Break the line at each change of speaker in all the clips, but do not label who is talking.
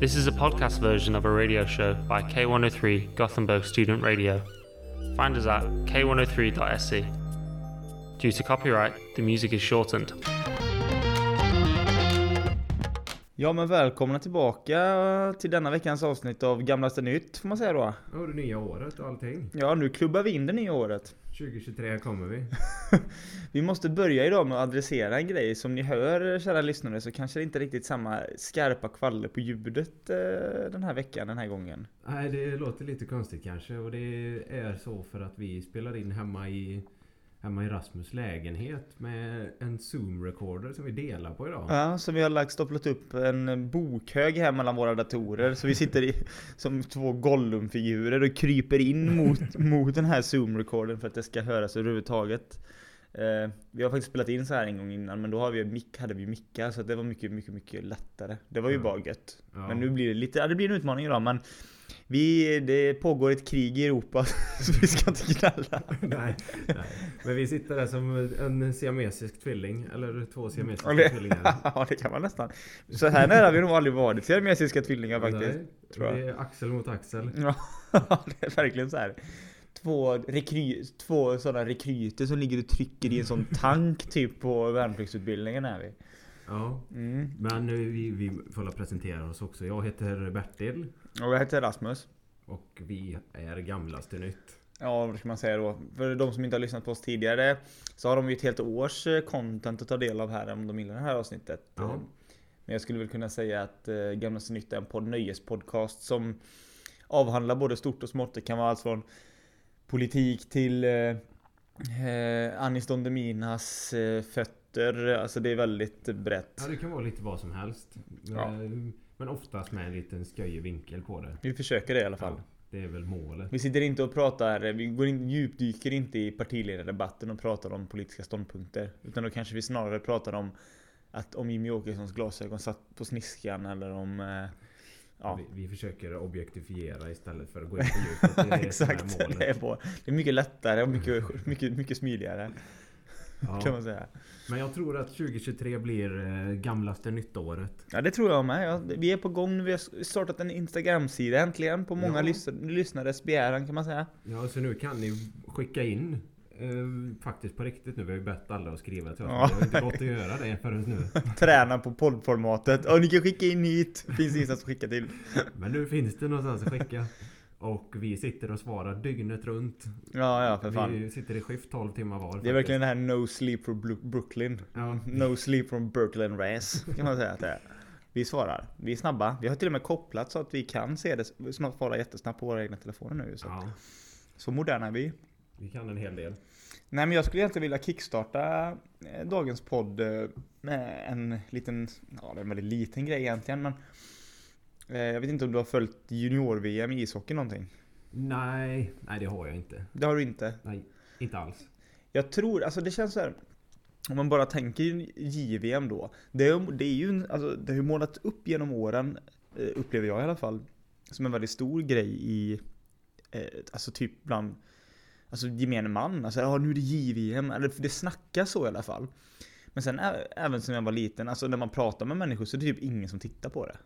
This is a podcast version of a radio show by K103 Gothenburg Student Radio. Find us at k103.se. E. Due to copyright, the music is shortened.
Ja men välkomna tillbaka till denna veckans avsnitt av Gamlaste Nytt får man säga då.
Och det nya året och allting.
Ja nu klubbar vi in det nya året.
2023 kommer vi.
Vi måste börja idag med att adressera en grej. Som ni hör kära lyssnare så kanske det inte är riktigt samma skarpa kvaller på ljudet eh, den här veckan, den här gången.
Nej, det låter lite konstigt kanske. Och det är så för att vi spelar in hemma i, hemma i Rasmus lägenhet med en Zoom-recorder som vi delar på idag.
Ja, så vi har lagt stopplat upp en bokhög här mellan våra datorer. Så vi sitter i, som två Gollum-figurer och kryper in mot, mot den här Zoom-recorden för att det ska höras överhuvudtaget. Eh, vi har faktiskt spelat in så här en gång innan men då har vi mick, hade vi mickar så att det var mycket, mycket, mycket lättare. Det var ju
Mm.
bara gött.
Ja.
Men nu blir det lite, ja, det blir en utmaning idag men vi, det pågår ett krig i Europa så vi ska inte gnälla.
nej, nej. Men vi sitter där som en siamesisk tvilling. Eller två siamesiska
Eller-
tvillingar.
ja det kan man nästan. Så här nära har vi nog aldrig varit siamesiska tvillingar faktiskt.
Nej,
tror jag.
Det är axel mot axel.
Ja, det är verkligen så här. Två, rekry, två sådana rekryter som ligger och trycker i en sån tank typ på värnpliktsutbildningen är vi.
Ja.
Mm.
Men eh, vi, vi får väl presentera oss också. Jag heter Bertil.
Och jag heter Rasmus.
Och vi är Gamlaste Nytt.
Ja, vad ska man säga då? För de som inte har lyssnat på oss tidigare så har de ju ett helt års eh, content att ta del av här om de gillar det här avsnittet.
Ja.
Eh, Men jag skulle väl kunna säga att eh, Gamla Sin Nytt är en podd, nöjespodcast som avhandlar både stort och smått. Det kan vara allt från politik till eh, eh, Anis Don Deminas eh, fötter. Alltså det är väldigt brett.
Ja, det kan vara lite vad som helst.
Ja.
Eh, Men oftast med en liten sköjig vinkel på det.
Vi försöker det i alla fall.
Det är väl målet.
Vi sitter inte och pratar, vi går in, djupdyker inte i partiledardebatten och pratar om politiska ståndpunkter. Utan då kanske vi snarare pratar om att om Jimmy Åkessons glasögon satt på sniskan eller om... Eh, ja,
Vi, vi försöker objektifiera istället för att gå in på djupet. Det är det som är
exakt.
målet.
Det är, på. det är mycket lättare och mycket, mycket, mycket smidigare kan
Ja.
man säga.
Men jag tror att 2023 blir eh, gamlaste nyttåret.
Ja, det tror jag med. Ja, vi är på gång nu. Vi har startat en Instagram-sida äntligen på många
Ja.
lys- lyssnares begäran kan man säga.
Ja, så nu kan ni skicka in eh, faktiskt på riktigt nu. Vi har ju bett alla att skriva till oss.
Ja.
men Det har inte gått att göra det förrän nu.
Träna på poddformatet. Och ni kan skicka in hit. Finns ingenstans att skicka till.
Men nu finns det någonstans att skicka. Och vi sitter och svarar dygnet runt.
Ja, ja, för fan.
Vi sitter i skift 12 timmar var.
Det är
faktiskt.
verkligen det här No Sleep from Bru- Brooklyn.
Ja.
No Sleep from Brooklyn Race kan man säga att det är. Vi svarar. Vi är snabba. Vi har till och med kopplat så att vi kan se det snabbt svara jättesnabbt på våra egna telefoner nu. Så,
ja.
så moderna är vi.
Vi kan en hel del.
Nej men jag skulle egentligen vilja kickstarta eh, dagens podd eh, med en liten, ja det är en väldigt liten grej egentligen men eh, jag vet inte om du har följt junior-VM i ishockey någonting?
Nej, nej det har jag inte.
Det har du inte?
Nej, inte alls.
Jag tror, alltså det känns så här. Om man bara tänker JVM då. Det, är- det är ju, en- alltså, det har ju målats upp genom åren, eh, upplever jag i alla fall, som en väldigt stor grej i, eh, alltså typ bland Alltså gemene man, alltså ja nu är det JVM, eller för det snackas så i alla fall. Men sen ä- även som jag var liten, alltså när man pratar med människor så är det typ ingen som tittar på det.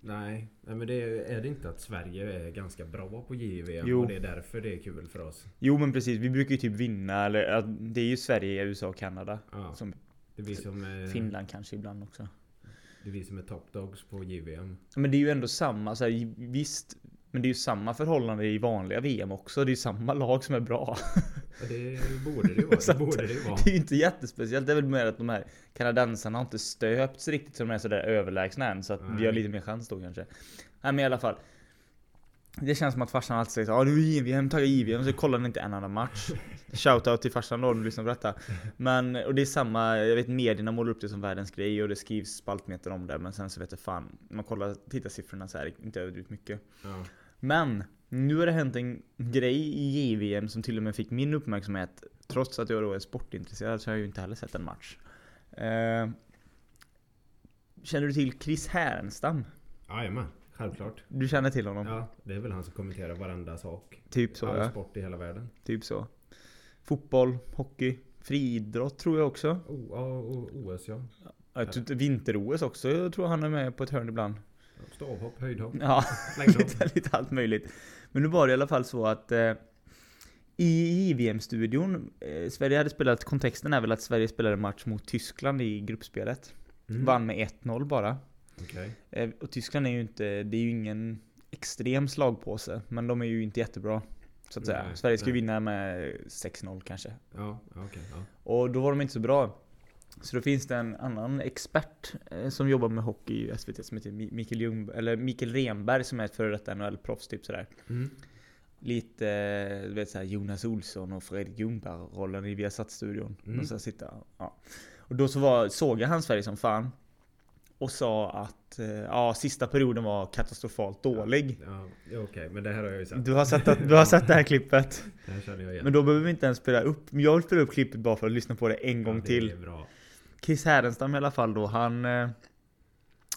Nej, nej men det är, är det inte att Sverige är ganska bra på JVM
Jo.
och det är därför det är kul för oss?
Jo men precis, vi brukar ju typ vinna, eller ja, det är ju Sverige, USA och Kanada.
Ja,
Som
det, är vi som är,
Finland kanske ibland också.
det är vi som är top dogs på JVM.
Men det är ju ändå samma, så här, visst. Men det är ju samma förhållande i vanliga VM också. Det är ju samma lag som är bra.
Och det borde det ju vara.
Så
Det
att-
borde det ju vara.
Det är ju inte jättespeciellt. Det är väl mer att de här kanadensarna har inte stöpts riktigt så de är sådär överlägsna än. Så att vi
Nej.
har lite mer chans då kanske. Nej men i alla fall. Det känns som att farsan alltid säger såhär nu är JVM, tagga JVM, så kollar han inte en annan match. Shoutout till farsan då om du lyssnar på detta. Men, och det är samma, jag vet medierna målar upp det som världens grej och det skrivs spaltmeter om det. Men sen så vet jag fan, man kollar tittarsiffrorna så här, inte överdrivet mycket.
Ja.
Men nu har det hänt en grej i JVM som till och med fick min uppmärksamhet. Trots att jag då är sportintresserad så har jag ju inte heller sett en match. Eh, känner du till Chris Härenstam?
Jajamän, självklart.
Du känner till honom?
Ja, det är väl han som kommenterar varenda sak.
Typ så
All
ja.
sport i hela världen.
Typ så. Fotboll, hockey, friidrott tror jag också. typ
Oh, ja, och OS ja.
Ja, jag tror- Vinter-OS också jag tror han är med på ett hörn ibland.
Stavhopp, höjdhopp,
Ja,
längdhopp.
lite, lite allt möjligt. Men nu var det i alla fall så att eh, i JVM-studion, eh, Sverige hade spelat, kontexten är väl att Sverige spelade match mot Tyskland i gruppspelet.
Mm.
Vann med 1-0 bara.
Okej.
Eh, och Tyskland är ju inte, det är ju ingen extrem slagpåse, men de är ju inte jättebra. Så att säga.
Nej,
Sverige skulle
nej.
vinna med 6-0 kanske.
Ja, ja, okej. ja.
Och då var de inte så bra. Så då finns det en annan expert eh, som jobbar med hockey i SVT som heter Mi- Mikael, Ljung, eller Mikael Renberg som är ett före detta NHL-proffs typ sådär.
Mm.
Lite, eh, du vet såhär Jonas Olsson och Fredrik Ljungberg-rollen i Viasat-studion.
Mm.
De så här sitta, ja. Och då så var, såg jag han Sverige som fan. Och sa att eh, ja, sista perioden var katastrofalt dålig.
Ja, ja, okej. Men det här har jag ju sett.
Du har sett, att, du har sett det här klippet.
Det här känner jag igen.
Men då behöver vi inte ens spela upp. Jag vill spela upp klippet bara för att lyssna på det en gång
ja, det
till.
Är bra.
Chris Härenstam i alla fall då, han... eh,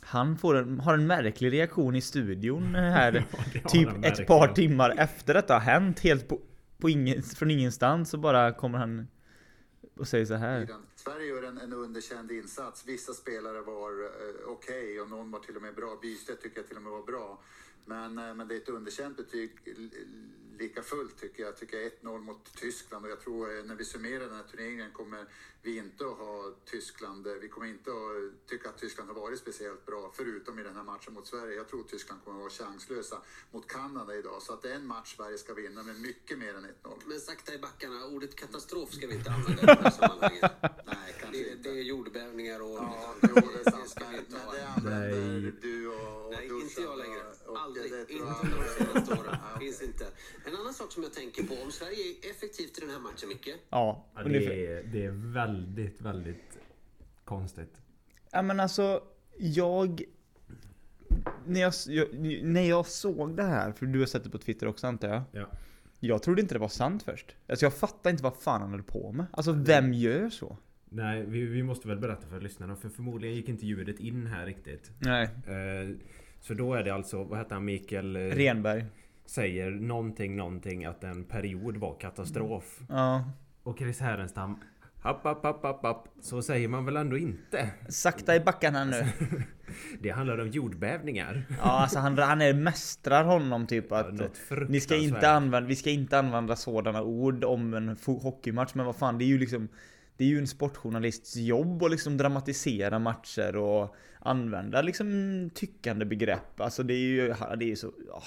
Han får en, har en märklig reaktion i studion eh, här.
Ja, det har
typ
han
ett
verkligen.
par timmar efter detta har hänt, helt på, på ingen, från ingenstans så bara kommer han och säger så här.
sidan. Sverige gör en, en underkänd insats. Vissa spelare var eh, okej och någon var till och med bra. Bystedt tycker jag till och med var bra. Men, eh, men det är ett underkänt betyg l- l- lika fullt tycker jag. Tycker jag 1-0 mot Tyskland och jag tror eh, när vi summerar den här turneringen kommer vi inte att ha Tyskland. eh, Vi kommer inte att tycka att Tyskland har varit speciellt bra förutom i den här matchen mot Sverige. Jag tror Tyskland kommer att vara chanslösa mot Kanada idag. Så att det är en match Sverige ska vinna med mycket mer än 1-0.
Men sakta i backarna, ordet katastrof ska vi inte använda i det här sammanhanget.
Nej, kanske
Det,
inte.
det är jordbävningar och...
Ja,
det,
jo, det är sant.
ska vi
Men
inte ha.
det använder
Nej.
du och, och
Nej,
duschen
inte jag längre.
och- och
Aldrig.
det tror
Inte
jag
de
aldrig.
senaste åren.
Ja, okej.
Finns inte. En annan sak som jag tänker på, om Sverige är effektivt i den här matchen, Micke.
Ja,
Ja,
ungefär.
det, är, det är väldigt, väldigt konstigt.
Ja men alltså, jag... När jag, jag, när jag såg det här, för du har sett det på Twitter också antar jag.
Ja.
Jag trodde inte det var sant först. Alltså jag fattade inte vad fan han höll på med. Alltså vem gör så?
Nej, vi, vi måste väl berätta för lyssnarna för förmodligen gick inte ljudet in här riktigt.
Nej.
Eh, Så då är det alltså, vad heter han, Mikael? eh,
Renberg.
Säger någonting, någonting att en period var katastrof.
Ja.
Och Chris Härenstam Happ, happ, happ, happ, happ. Så säger man väl ändå inte?
Sakta i backarna nu.
Det handlar om jordbävningar.
Ja, alltså han, han är mästrar honom typ att
något
ni ska
fruktansvärt.
inte använda, vi ska inte använda sådana ord om en fo- hockeymatch. Men vad fan, det är ju liksom det är ju en sportjournalists jobb att liksom dramatisera matcher och använda liksom tyckande begrepp. Alltså det är ju, det är ju så... ah.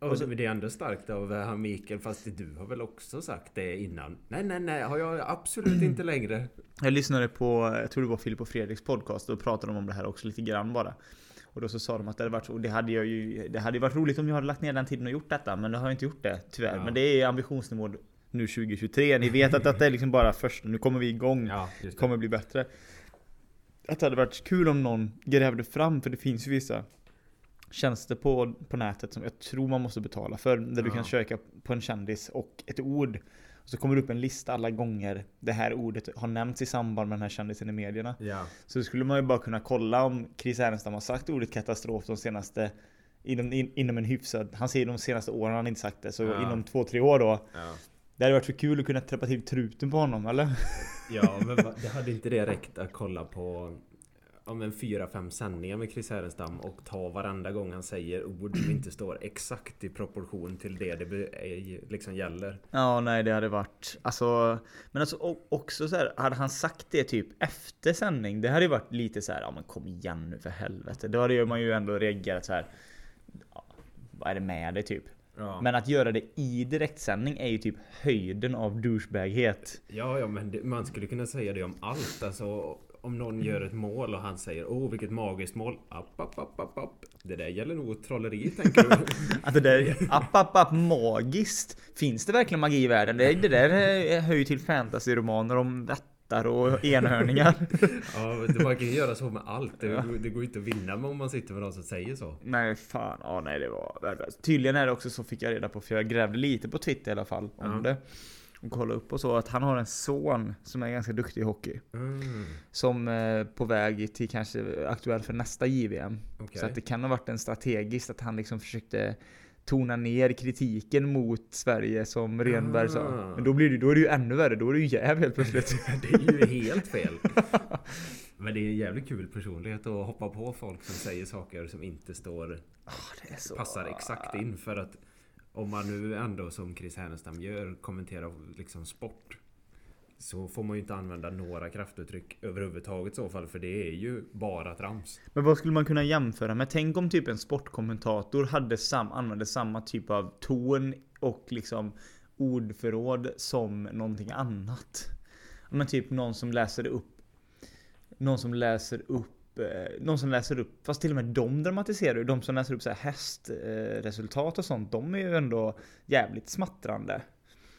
Och så, det är ändå starkt av eh, han Mikael, fast du har väl också sagt det innan? Nej, nej, nej, har jag absolut inte längre.
Jag lyssnade på, jag tror det var Filip och Fredriks podcast, då pratade de om det här också lite grann bara. Och då så sa de att det hade varit så, och det hade jag ju, det hade ju varit roligt om jag hade lagt ner den tiden och gjort detta, men det har jag inte gjort det tyvärr.
Ja.
Men det är ambitionsnivå nu 2023, ni vet att detta är liksom bara först, nu kommer vi igång,
Ja, just det.
kommer bli bättre. Att det hade varit kul om någon grävde fram, för det finns ju vissa tjänster på, på nätet som jag tror man måste betala för. Där du
Ja.
kan söka på en kändis och ett ord. Och så kommer det upp en lista alla gånger det här ordet har nämnts i samband med den här kändisen i medierna.
Ja.
Så skulle man ju bara kunna kolla om Chris Härenstam har sagt ordet katastrof de senaste Inom, in, inom en hyfsad... Han säger de senaste åren har han inte sagt det. Så
Ja.
inom två, tre år då.
Ja.
Det hade varit så kul att kunna träppa till truten på honom, eller?
Ja, men va- det hade inte det räckt att kolla på om en fyra, fem sändningar med Chris Härenstam och ta varenda gång han säger ord som inte står exakt i proportion till det det be- eh, liksom gäller.
Ja, nej det hade varit... Alltså, men alltså o- också så här, hade han sagt det typ efter sändning, det hade ju varit lite så här, ja men kom igen nu för helvete. Då hade ju man ju ändå reagerat så här. "Ja, Vad är det med dig typ?
Ja.
Men att göra det i direktsändning är ju typ höjden av douchebaghet.
Ja, ja, men det, man skulle kunna säga det om allt. Alltså, om någon gör ett mål och han säger Åh, vilket magiskt mål. App, app, app, app, app. Det där gäller nog trolleri, tänker du.
Att det där app, app, app, magiskt. Finns det verkligen magi i världen? Det, det där eh, hör ju till fantasyromaner om vättar och enhörningar.
ja, men man kan ju göra så med allt. Det, det går ju inte att vinna med om man sitter med någon som säger så.
Nej fan, ja nej det var värdelöst. Tydligen är det också så fick jag reda på, för jag grävde lite på Twitter i alla fall om
Ja.
det. Och kollade upp och så, att han har en son som är ganska duktig i hockey.
Mm,
Som eh, på väg till kanske aktuell för nästa JVM.
Okej.
Så att det kan ha varit en strategiskt att han liksom försökte tona ner kritiken mot Sverige som Renberg sa.
Ah.
Men då, blir det, då är det ju ännu värre, då är det ju jäv helt plötsligt.
Det är ju helt fel. Men det är en jävligt kul personlighet att hoppa på folk som säger saker som inte står
det är så...
passar exakt in. För att om man nu ändå som Chris Härnestam gör kommenterar liksom sport. Så får man ju inte använda några kraftuttryck överhuvudtaget i så fall. För det är ju bara trams.
Men vad skulle man kunna jämföra med? Tänk om typ en sportkommentator hade sam, använde samma typ av ton och liksom ordförråd som någonting annat. Ja, Men typ någon som läser upp Någon som läser upp eh, någon som läser upp, fast till och med de dramatiserar ju. De som läser upp så här hästresultat och sånt, de är ju ändå jävligt smattrande.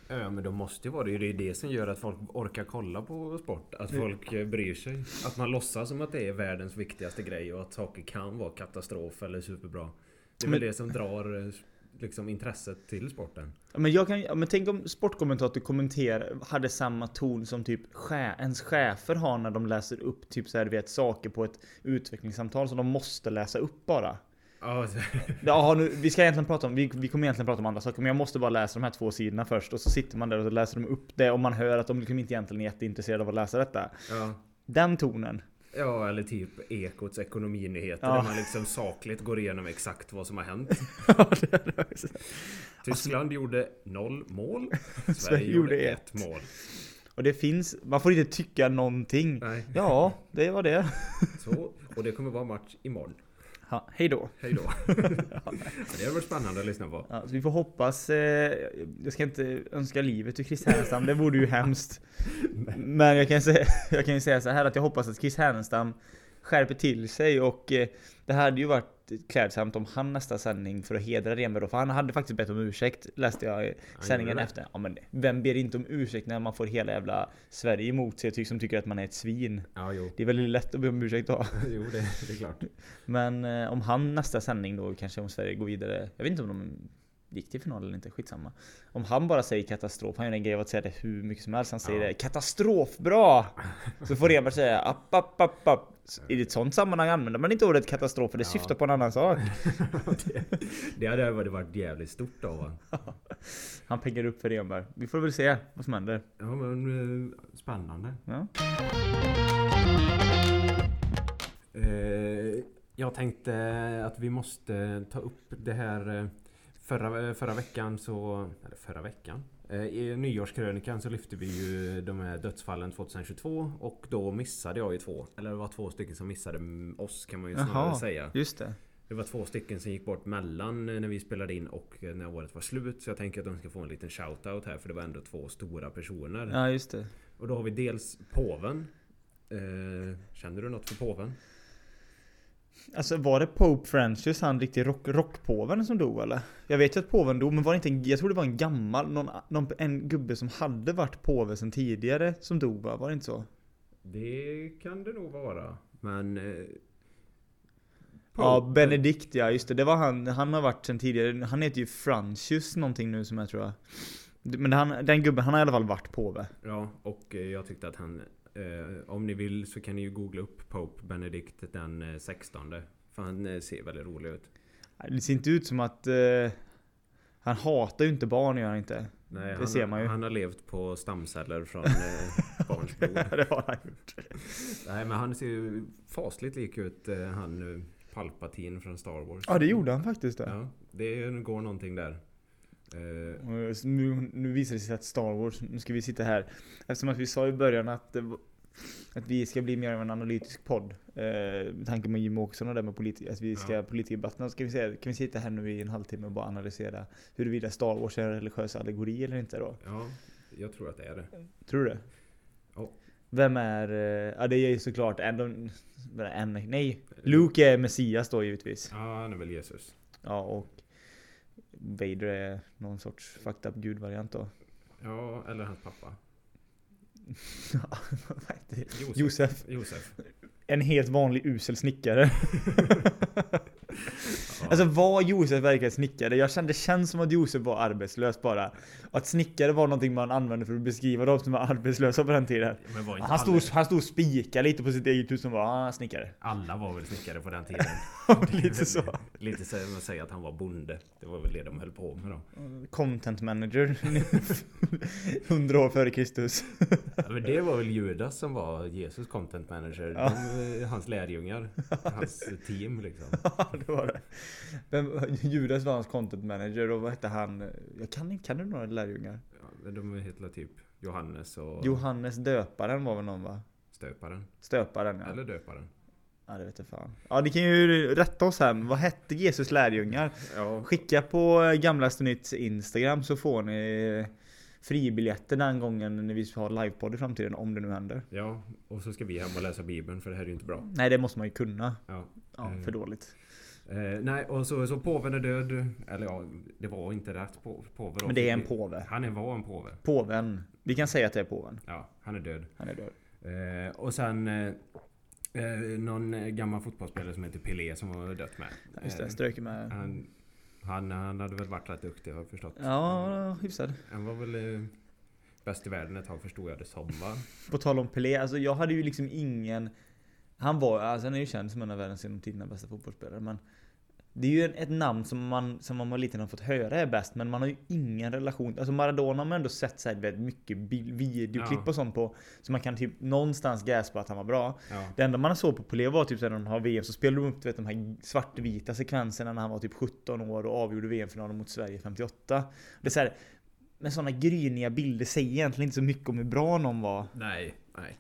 Ja men då måste ju vara det. Det är ju det som gör att folk orkar kolla på sport. Att folk eh, bryr sig. Att man låtsas som att det är världens viktigaste grej och att saker kan vara katastrof eller superbra. Det är väl
Men-
det som drar eh, liksom intresset till sporten.
Ja, Men, jag kan, ja, men tänk om sportkommentator kommenterar hade samma ton som typ che, ens chefer har när de läser upp typ så här, du vet, saker på ett utvecklingssamtal som de måste läsa upp bara.
Ja, alltså,
Ja, nu, vi ska egentligen prata om, vi, vi kommer egentligen prata om andra saker, men jag måste bara läsa de här två sidorna först och så sitter man där och läser de upp det och man hör att de liksom inte egentligen är jätteintresserade av att läsa detta.
ja.
Den tonen.
Ja, eller typ Ekots ekonominyheter
Ja.
där man liksom sakligt går igenom exakt vad som har hänt. Tyskland gjorde noll mål. Sverige gjorde
gjorde
ett mål.
Och det finns, man får inte tycka någonting.
Nej,
Ja, det var det.
så. Och det kommer vara match imorgon.
Ha, hej då.
Hej då. det har varit spännande att lyssna på.
Ja, så vi får hoppas. Eh, jag ska inte önska livet ur Chris Härenstam, det vore ju hemskt. Men jag kan, säga, jag kan ju säga så här att jag hoppas att Chris Härenstam skärper till sig och eh, det hade ju varit klädsamt om han nästa sändning för att hedra Renberg då, för han hade faktiskt bett om ursäkt läste jag i sändningen
det?
efter. Ja, men vem ber inte om ursäkt när man får hela jävla Sverige emot sig ty- som tycker att man är ett svin?
Ja, jo.
Det är väldigt lätt att be om ursäkt då.
Jo, det, det är klart.
Men eh, om han nästa sändning då, kanske om Sverige går vidare. Jag vet inte om de gick till final eller inte, skitsamma. Om han bara säger katastrof, han gör en grej av att säga det hur mycket som helst. Han säger
Ja.
det katastrofbra! Så får Renberg säga app, app, app, app. S- I ett sånt sammanhang använder man inte ordet katastrof för det
Ja.
syftar på en annan sak.
Det, det hade varit- varit jävligt stort av honom.
Han peggar upp för Renberg. Vi får väl se vad som händer.
Ja, men eh, spännande.
Ja.
Eh, jag tänkte att vi måste ta upp det här eh, förra, förra veckan så... Eller förra veckan? Eh, I nyårskrönikan så lyfte vi ju de här dödsfallen 2022 och då missade jag ju två. Eller det var två stycken som missade mm, oss kan man ju snarare säga.
just det.
Det var två stycken som gick bort mellan eh, när vi spelade in och eh, när året var slut. Så jag tänker att de ska få en liten shout-out här för det var ändå två stora personer.
Ja, just det.
Och då har vi dels påven. Eh, känner du något för påven?
Alltså var det Pope Francis, han riktig rock, rockpåven som dog eller? Jag vet ju att påven dog, men var det inte en, jag tror det var en gammal, någon, någon, en gubbe som hade varit påve sedan tidigare som dog va? Var det inte så?
Det kan det nog vara. Men... Eh,
Ja, Benedikt ja, just det. Det var han, han har varit sedan tidigare. Han heter ju Francius någonting nu som jag tror jag. Men han, den gubben, han har i alla fall varit påve.
Ja, och eh, jag tyckte att han... Eh, om ni vill så kan ni ju googla upp Pope Benedikt den eh, 16. För han eh, ser väldigt rolig ut.
Det ser inte ut som att... Eh, han hatar ju inte barn gör han inte.
Nej,
det
han,
ser man ju.
Han har levt på stamceller från eh, barns blod.
det har han gjort.
Nej, men han ser ju fasligt lik ut eh, han eh, Palpatine från Star Wars.
Ja, det gjorde han faktiskt det.
Ja, det går någonting där. Eh,
Och Nu, nu visar det sig att Star Wars, nu ska vi sitta här. Eftersom att vi sa i början att, det var- att vi ska bli mer av en analytisk podd. Eh, med tanke med Jim Åkesson och det med politi- att vi ska
Ja.
ja. politikerdebatterna. Ska vi säga, kan vi sitta här nu i en halvtimme och bara analysera huruvida Star Wars är en religiös allegori eller inte då?
ja, jag tror att det är det.
Tror du det?
Ja.
Vem är... eh, Ja det är ju såklart en, de- en nej. Luke är Messias då givetvis.
Ja, han är väl Jesus.
Ja och Vader är någon sorts fucked up gud-variant då.
Ja, eller hans pappa.
Ja, faktiskt.
Josef.
Josef.
Josef.
En helt vanlig usel snickare. Alltså var Josef verkligen snickare? Jag kände, det känns som att Josef var arbetslös bara. Och att snickare var någonting man använde för att beskriva de som var arbetslösa på den tiden.
Men var inte
Han stod,
alla-
han stod och spikade lite på sitt eget hus och var ah, snickare.
Alla var väl snickare på den tiden.
lite så.
Lite så man säger att han var bonde. Det var väl det de höll på med då.
Content manager. 100 år före Kristus.
Ja, Men det var väl Judas som var Jesus content manager. De, eh, hans lärjungar. Hans team liksom.
Ja, det var det. Men Judas var hans content manager och vad hette han? Jag kan inte, kan du några lärjungar?
Ja, men De heter typ Johannes och
Johannes döparen var väl någon va?
Stöparen.
Stöparen ja.
Eller Döparen.
Ja det vet jag fan. Ja ni kan ju rätta oss här. Vad hette Jesus lärjungar?
Ja.
Skicka på Gamlaste Nytts Instagram så får ni fribiljetter den gången när vi har livepodd i framtiden om det nu händer.
Ja, och så ska vi hem och läsa Bibeln för det här är ju inte bra.
Nej det måste man ju kunna.
Ja.
Ja, för dåligt.
Eh, nej, och så, så påven är död. Eller ja, det var inte rätt på, påve då.
Men det är en påve.
Han är, var en påve.
Påven. Vi kan säga att det är påven.
Ja, han är död.
Han är död.
Eh, och sen eh, eh, någon eh, gammal fotbollsspelare som heter Pelé som har dött med.
Just det,
Eh,
jag strök med.
han, han, han hade väl varit rätt duktig har jag förstått.
Ja, hyfsad.
Han var väl eh, bäst i världen ett tag förstod jag det som va?
På tal om Pelé, alltså jag hade ju liksom ingen... Han var alltså han är ju känd som en av världens genom tiderna bästa fotbollsspelare men Det är ju ett namn som man som man var liten har fått höra är bäst men man har ju ingen relation. Alltså Maradona har man ändå sett så här väldigt mycket bil- videoklipp
Ja.
och sånt på. Så man kan typ någonstans gaspa att han var bra.
Ja.
Det enda man såg på Pelé var typ så här när de har VM så spelade de upp du vet, de här svartvita sekvenserna när han var typ 17 år och avgjorde VM-finalen mot Sverige 58. Det är så här, men sådana gryniga bilder säger egentligen inte så mycket om hur bra någon var.
Nej, nej.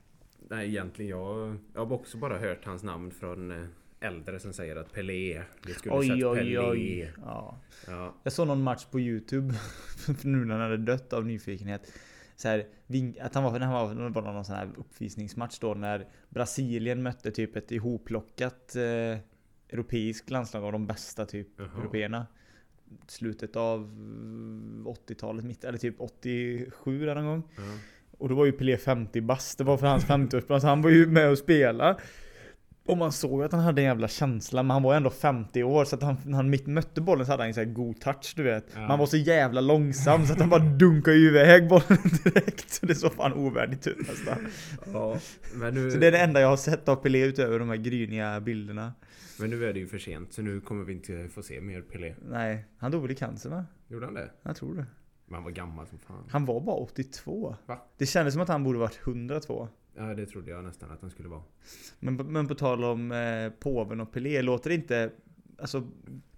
Nej egentligen jag, jag har också bara hört hans namn från eh, äldre som säger att Pelé. Det skulle sett Pelé.
Ja.
Ja,
Jag såg någon match på Youtube, för nu när han hade dött av nyfikenhet. Så här, vink- att han var, när han var, det var någon sån här uppvisningsmatch då när Brasilien mötte typ ett ihopplockat eh, europeiskt landslag av de bästa typ
Jaha.
européerna. Slutet av eh, 80-talet, mitt, eller typ 87 där någon gång.
ja.
Och då var ju Pelé 50 bast, det var för hans 50-årsplan, så han var ju med och spelade. Och man såg att han hade en jävla känsla, men han var ändå 50 år så att han, när han mitt mötte bollen så hade han en sån här god touch du vet.
Ja.
Men han var så jävla långsam så att han bara dunkade ju iväg bollen direkt. Så det såg fan ovärdigt ut nästan.
ja men, nu,
Så det är det enda jag har sett av Pelé utöver de här gryniga bilderna.
men nu är det ju för sent så nu kommer vi inte få se mer Pelé.
Nej, han dog väl i cancer va?
Gjorde han det?
Jag tror det.
Men han var gammal som fan.
Han var bara 82.
Va?
Det kändes som att han borde varit 102.
Ja, det trodde jag nästan att han skulle vara.
Men, men på tal om eh, påven och Pelé, låter det inte... Alltså,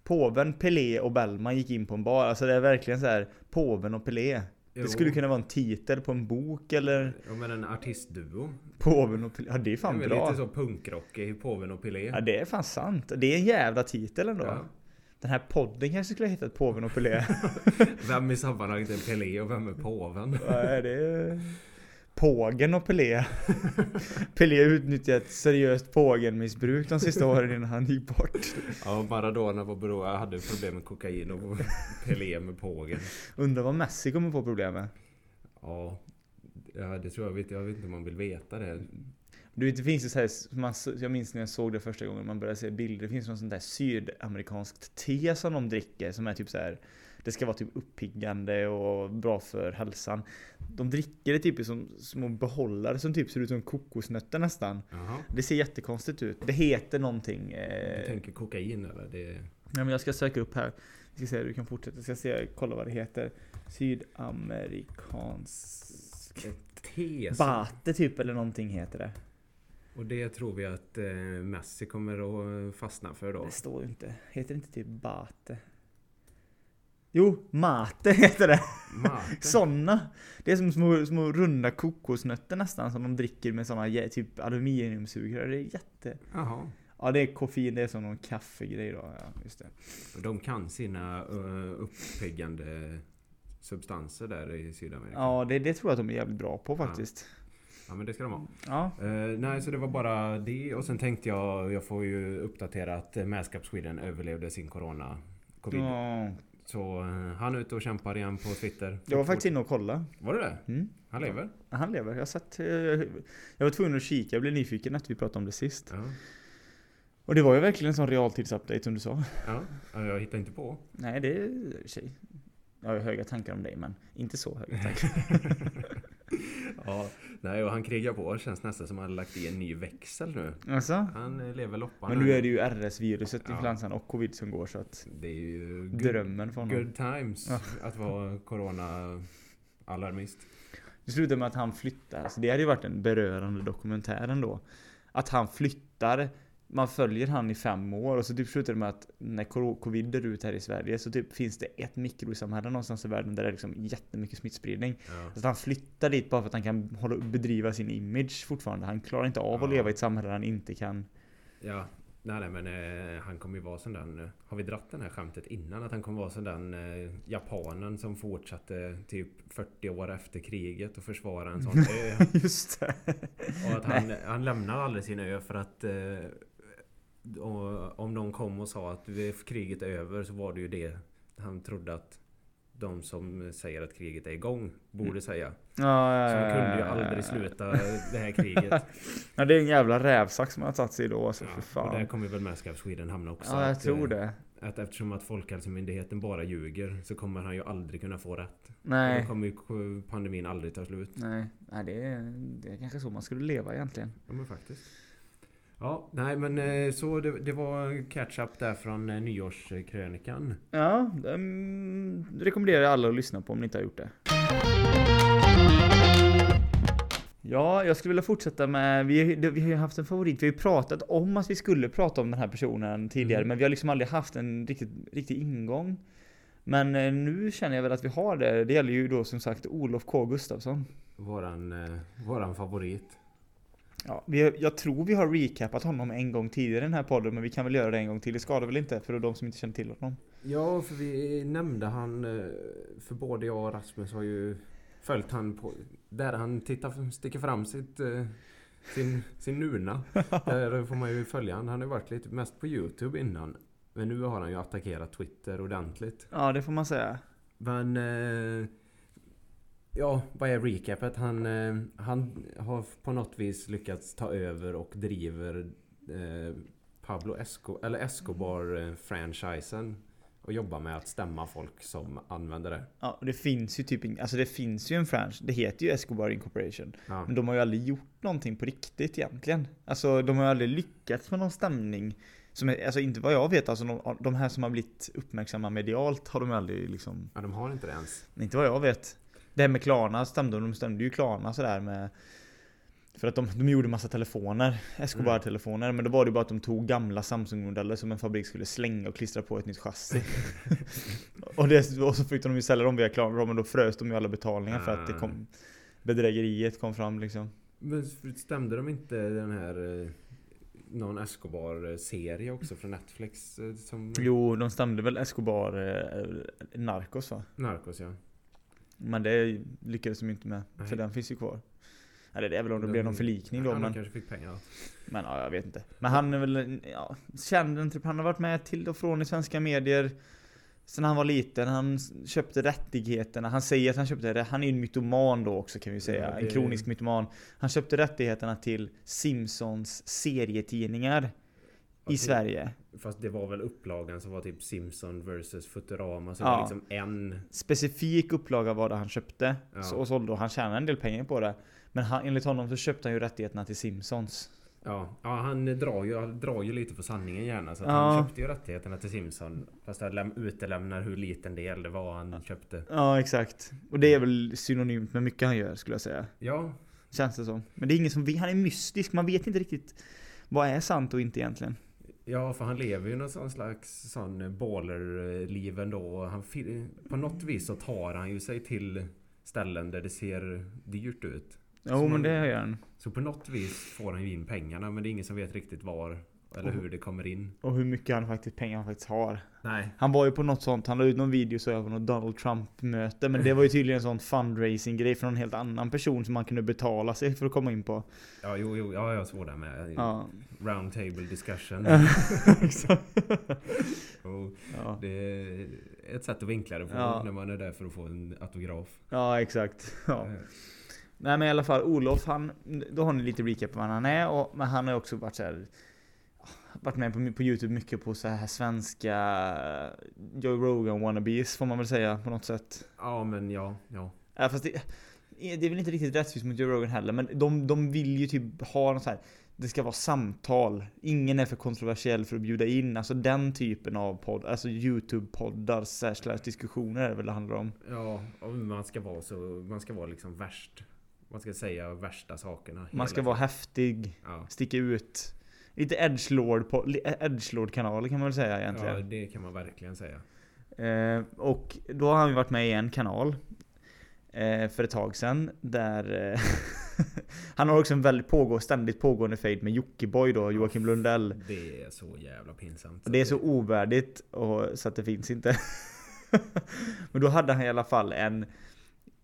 påven, Pelé och Bellman gick in på en bar. Alltså det är verkligen så här, påven och Pelé.
Jo.
Det skulle kunna vara en titel på en bok eller
Ja, men en artistduo.
påven och Pelé. Ja det är
Ja,
fan
men
bra.
lite så punkrockig, påven och Pelé.
Ja det är fan sant. Det är en jävla titel ändå.
Ja.
Den här podden kanske skulle ha hetat påven och Pelé.
Vem i sammanhanget är Pelé och vem är påven?
Nej det är... Pågen och Pelé. Pelé utnyttjade ett seriöst pågenmissbruk de sista åren innan han gick bort.
Ja, Maradona var bero, jag hade problem med kokain och Pelé med pågen.
Undrar vad Messi kommer få problem med.
Ja, ja det tror jag. Vet, jag vet inte om man vill veta det.
Du vet, det finns ju så här, man, så- jag minns när jag såg det första gången man började se bilder, det finns någon sån där sydamerikanskt te som de dricker som är typ så här. Det ska vara typ uppiggande och bra för hälsan. De dricker det typ i som små behållare som typ ser ut som kokosnötter nästan.
Jaha.
Det ser jättekonstigt ut. Det heter någonting.
Du
Eh,
tänker kokain eller? Det,
ja, men jag ska söka upp här. Jag ska se, du kan fortsätta. Jag ska se, kolla vad det heter. Sydamerikansk...
ett te. som-
Bate typ eller någonting heter det.
Och det tror vi att eh, Messi kommer att fastna för då.
Det står ju inte. Heter det inte typ bate? Jo, mate heter det.
Mate.
Såna. Det är som små, små runda kokosnötter nästan som de dricker med såna jä- typ aluminiumsugrör. Det är jätte...
Jaha.
Ja, det är koffein. Det är som någon kaffegrej då. Ja, just det.
De kan sina eh, uppiggande substanser där i Sydamerika.
Ja, det, det tror jag att de är jävligt bra på faktiskt.
Ja, men det ska de ha.
Ja.
Eh, nej, så det var bara det. Och sen tänkte jag, jag får ju uppdatera att eh, Mascap Sweden överlevde sin corona. Covid.
ja.
Så eh, han är ute och kämpar igen på Twitter.
Jag var faktiskt inne och kollade.
Var det det?
Mm.
Han lever?
Han lever. Jag har sett... eh, Jag var tvungen att kika. Jag blev nyfiken att vi pratade om det sist.
Ja.
Och det var ju verkligen en sån realtidsupdate som du sa.
Ja, ja, jag hittar inte på.
Nej, det är tjej. Jag har höga tankar om dig, men inte så höga tankar.
Ja, nej, och han krigar på. Det känns nästan som att han lagt i en ny växel nu.
Alltså?
Han eh, lever loppan.
Men nu är det ju RS-viruset,
Ja.
influensan och covid som går så att
Det är ju good,
drömmen för honom.
good times att vara corona-alarmist.
Det slutar med att han flyttar. Alltså det hade ju varit en berörande dokumentär ändå. Att han flyttar. Man följer han i fem år och så typ slutar det med att när cor- covid är ut här i Sverige så typ finns det ett mikrosamhälle någonstans i världen där det är liksom jättemycket smittspridning.
Ja.
Så att han flyttar dit bara för att han kan hålla, bedriva sin image fortfarande. Han klarar inte av att
Ja.
leva i ett samhälle där han inte kan.
Ja, nej, nej men eh, han kommer ju vara sån där... eh, Har vi dratt den här skämtet innan? Att han kommer vara sån där eh, japanen som fortsatte typ 40 år efter kriget och försvara en sån ö.
Just det.
Och att han, han lämnar aldrig sin ö för att... Eh, och, om de kom och sa att vi- kriget är över så var det ju det han trodde att de som säger att kriget är igång borde
Mm.
säga.
Ja, ja,
Så
ja,
han kunde ju
ja, ja, ja.
aldrig sluta det här kriget.
Ja, det är en jävla rävsax som han har tagit sig då. Alltså, för
Och där
fan.
kommer väl Mask Up Sweden hamna också.
Ja, jag
att,
tror
eh,
det.
Att eftersom att Folkhälsomyndigheten bara ljuger så kommer han ju aldrig kunna få rätt. Och
Nej.
Då kommer ju k- pandemin aldrig ta slut.
Nej, nej det, är, det är kanske så man skulle leva egentligen.
Ja men faktiskt. Ja, nej men eh, så det, det var catch-up där från eh, nyårskrönikan.
Ja, ehm, rekommenderar jag alla att lyssna på om ni inte har gjort det. Ja, jag skulle vilja fortsätta med, vi, det- vi har ju haft en favorit, vi har ju pratat om att vi skulle prata om den här personen tidigare,
Mm.
men vi har liksom aldrig haft en riktigt, riktig ingång. Men eh, nu känner jag väl att vi har det. Det gäller ju då som sagt Olof K Gustafsson.
Våran, eh, våran favorit.
Ja, vi, har- jag tror vi har recapat honom en gång tidigare i den här podden, men vi kan väl göra det en gång till. Det skadar väl inte för de som inte känner till honom.
Ja, för vi nämnde han... eh, För både jag och Rasmus har ju följt han på... Där han tittar, sticker fram sitt... eh, Sin, sin nuna. Där får man ju följa han. Han har ju varit lite mest på Youtube innan. Men nu har han ju attackerat Twitter ordentligt.
Ja, det får man säga.
Men... Eh, ja, vad är recapet? Han, eh, han har på något vis lyckats ta över och driver eh, Pablo Esco, eller
Mm.
Escobar-franchisen. Och jobbar med att stämma folk som använder det.
Ja, och det finns ju typ ing- alltså det finns ju en franchise, det heter ju Escobar Incorporation.
Ja.
Men de har ju aldrig gjort någonting på riktigt egentligen. Alltså de har ju aldrig lyckats med någon stämning. Som är, alltså inte vad jag vet, alltså de, de här som har blivit uppmärksamma medialt har de ju aldrig liksom,
ja, de har inte det ens.
inte vad jag vet. Det här med Klarna stämde, de stämde ju Klarna sådär med för att de, de gjorde massa telefoner, Escobar-telefoner,
Mm.
men då var det ju bara att de tog gamla Samsung-modeller som en fabrik skulle slänga och klistra på ett nytt chassi. och, det, och så fick de ju sälja dem via Klarna, men då frös de ju alla betalningar för att det kom,
Mm.
bedrägeriet kom fram liksom.
Men stämde de inte den här... eh, Någon Escobar-serie också från Netflix? eh, Som
Jo, de stämde väl Escobar eh, Narcos va?
Narcos ja.
Men det lyckades de inte med,
Nej.
för den finns ju kvar. Eller det är väl om det
De-
blev någon förlikning då,
ja,
men,
de kanske fick pengar.
men ja, jag vet inte. Men han är väl, ja, känd entreprenör. Han har varit med till och från i svenska medier sen han var liten. Han s- köpte rättigheterna. Han säger att han köpte det. Han är ju en mytoman då också kan vi säga.
Ja, det-
En kronisk mytoman. Han köpte rättigheterna till Simpsons serietidningar i
Okej.
Sverige.
Fast det var väl upplagan som var typ Simpson vs Futurama. Så
Ja.
det var liksom en...
specifik upplaga var det han köpte.
Ja.
Så, och sålde och han tjänade en del pengar på det. Men han, enligt honom så köpte han ju rättigheterna till Simpsons.
Ja, ja han drar ju, han drar ju lite på sanningen gärna. Så att
Ja.
han köpte ju rättigheterna till Simpson. Fast han läm- utelämnar hur liten del det var han köpte.
Ja, exakt. Och det är väl synonymt med mycket han gör skulle jag säga.
Ja,
Känns det som. Men det är ingen som vet- Han är mystisk. Man vet inte riktigt vad är sant och inte egentligen.
ja för han lever ju någon sån slags sån baller-liv ändå. Och Han, fi- på något vis så tar han ju sig till ställen där det ser dyrt ut.
Jo,
Som
men
man-
det gör han.
Så på något vis får han ju in pengarna. Men det är ingen som vet riktigt var eller hur det kommer in.
Och hur mycket han faktiskt, pengar han faktiskt har.
Nej.
Han var ju på något sånt, han la ut någon video så jag på något Donald Trump-möte. Men det var ju tydligen en sån fundraising-grej från en helt annan person som man kunde betala sig för att komma in på.
Ja, jo, jo, ja, jag såg det med.
Ja,
Round table discussion.
exakt.
Och
Ja.
det är ett sätt att vinkla det på
Ja.
när man är där för att få en autograf.
Ja, exakt. Ja. Nej men i alla fall, Olof, han, då har ni lite recap på vem han är, och, men han har också varit så här. ah, varit med på, på Youtube mycket på så här svenska eh, Joe Rogan wannabes får man väl säga på något sätt.
Ja, men ja, ja.
Ja, fast det, eh, det är väl inte riktigt rättvist mot Joe Rogan heller, men de, de vill ju typ ha något så här. Det ska vara samtal. Ingen är för kontroversiell för att bjuda in. Alltså den typen av podd, alltså Youtube-poddar, slash diskussioner är det väl det handlar om.
Ja, och man ska vara så... Man ska vara liksom värst. Man ska säga värsta sakerna. hela
Man ska vara häftig,
Ja.
sticka ut. Lite edgelord kanaler kan man väl säga egentligen.
ja, det kan man verkligen säga.
Eh, och då har han ju varit med i en kanal eh, för ett tag sedan där eh, han har också en väldigt pågå, ständigt pågående fejd med Jockiboi då, Joakim Lundell.
Det är så jävla pinsamt.
Och det är så ovärdigt och, så att det finns inte. Men då hade han i alla fall en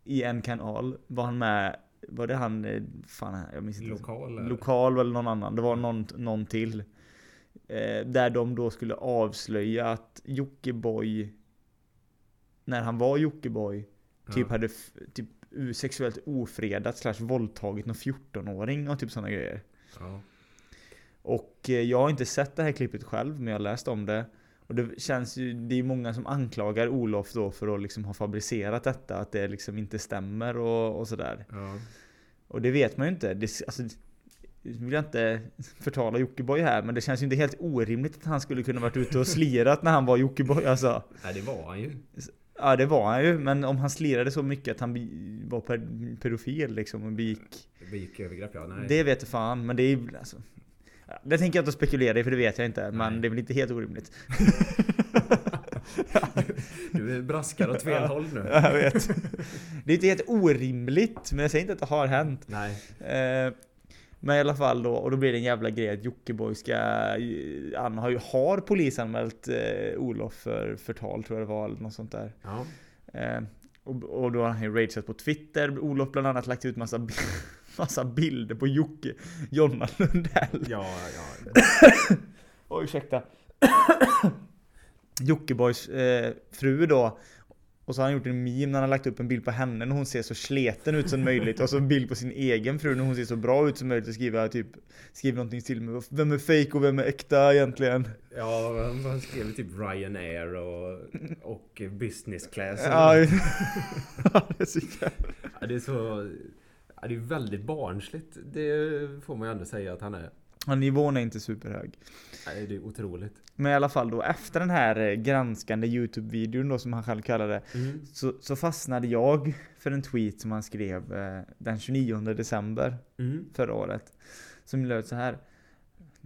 i en kanal var han med var det han, eh, fan jag minns inte.
Lokal eller?
Lokal eller någon annan. Det var någon, någon till. Eh, där de då skulle avslöja att Jockiboi, när han var Jockiboi, typ
Ja.
hade f- typ u- sexuellt ofredat slash våldtagit någon 14-åring och typ sådana grejer.
Ja.
Och eh, jag har inte sett det här klippet själv, men jag har läst om det. Och det känns ju, det är många som anklagar Olof då för att liksom ha fabricerat detta, att det liksom inte stämmer och, och sådär.
ja.
Och det vet man ju inte. Det, alltså, nu vill jag inte förtala Jockiboi här, men det känns ju inte helt orimligt att han skulle kunna varit ute och slirat när han var Jockiboi alltså.
Nej, det var han ju.
Ja det var han ju, men om han slirade så mycket att han be- var per- pedofil liksom och begick...
Begick övergrepp, ja. Nej.
Det vet jag fan, men det är ju alltså... ja, Det tänker jag inte spekulera i för det vet jag inte, men
Nej.
det är väl inte helt orimligt.
Du braskar åt fel håll nu.
jag vet. Det är inte helt orimligt, men jag säger inte att det har hänt.
Nej.
Eh, Men i alla fall då, och då blir det en jävla grej att Jockiboi ska... eh, Han har ju har polisanmält eh, Olof för förtal tror jag det var, eller något sånt där.
Ja.
Eh, och, och då har han ju rageat på Twitter, Olof bland annat lagt ut massa, bi- massa bilder på Jocke, Jonna Lundell.
Ja, ja.
Oj, ursäkta. Jockibois eh, fru då. Och så har han gjort en meme när han har lagt upp en bild på henne när hon ser så sleten ut som möjligt. Och så en bild på sin egen fru när hon ser så bra ut som möjligt. Och skriver typ, skriver någonting till med vem är fake och vem är äkta egentligen?
Ja, han skrev typ Ryanair och, och business class.
Ja, det är så jävla-
Ja, det är så... Ja, det är väldigt barnsligt. Det får man ju ändå säga att han är.
ja, nivån är inte superhög.
Nej, det är otroligt.
Men i alla fall då efter den här eh, granskande Youtube-videon då som han själv kallar det.
Mm.
Så, så fastnade jag för en tweet som han skrev eh, den 29 december.
Mm.
förra året. Som löd så här.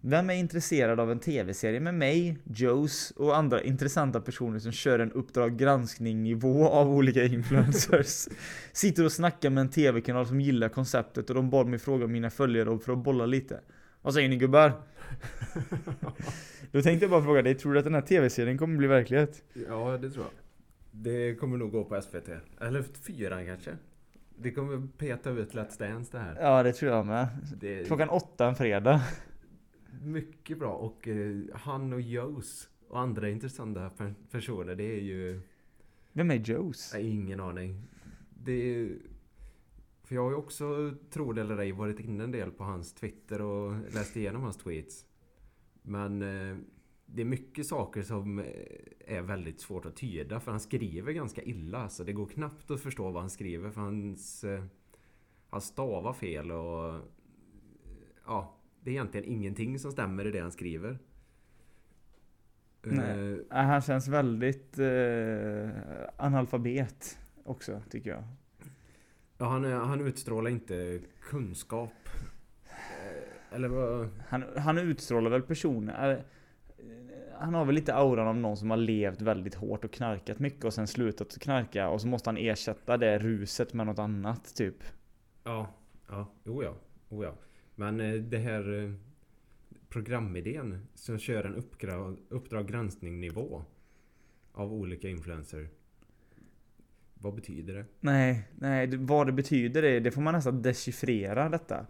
Vem är intresserad av en tv-serie med mig, Joes och andra intressanta personer som kör en Uppdrag granskning-nivå av olika influencers? Sitter och snackar med en tv-kanal som gillar konceptet och de bad mig fråga mina följare för att bolla lite. Vad säger ni gubbar? Då tänkte jag bara fråga dig, tror du att den här tv-serien kommer bli verklighet?
Ja, det tror jag. Det kommer nog gå på SVT. Eller fyran kanske. Det kommer peta ut Let's Dance det här.
Ja, det tror jag med.
Det är
Klockan åtta en fredag.
mycket bra. Och eh, han och Joes och andra intressanta per- personer, det är ju...
Vem är Joes?
Nej, ingen aning. Det är... För jag har ju också, tro det eller ej, varit inne en del på hans Twitter och läst igenom hans tweets. Men eh, det är mycket saker som eh, är väldigt svårt att tyda för han skriver ganska illa. Så det går knappt att förstå vad han skriver för hans... Eh, han stavar fel och... eh, Ja, det är egentligen ingenting som stämmer i det han skriver.
Nej.
Eh,
Nej, Äh, Han känns väldigt eh, analfabet också, tycker jag.
Ja, han, är- han utstrålar inte kunskap. Eh, Eller vad...
Han, han utstrålar väl personer... eh, Han har väl lite auran av någon som har levt väldigt hårt och knarkat mycket och sen slutat knarka och så måste han ersätta det ruset med något annat typ.
Ja, ja, jo ja, oh ja. Men eh, det här eh, programidén som kör en uppgra- uppdrag granskning nivå av olika influencer. Vad betyder det?
Nej, nej, det- vad det betyder det, det får man nästan dechiffrera detta.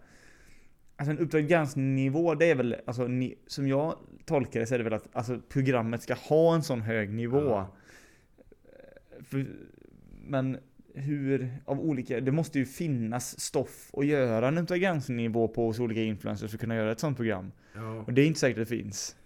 Alltså en Uppdrag granskning-nivå, det är väl, alltså, ni, som jag tolkar det så är det väl att alltså, programmet ska ha en sån hög nivå.
Ja.
För, men hur, av olika, det måste ju finnas stoff att göra en Uppdrag granskning-nivå på hos olika influencers för att kunna göra ett sånt program.
Ja,
Och det är inte säkert det finns.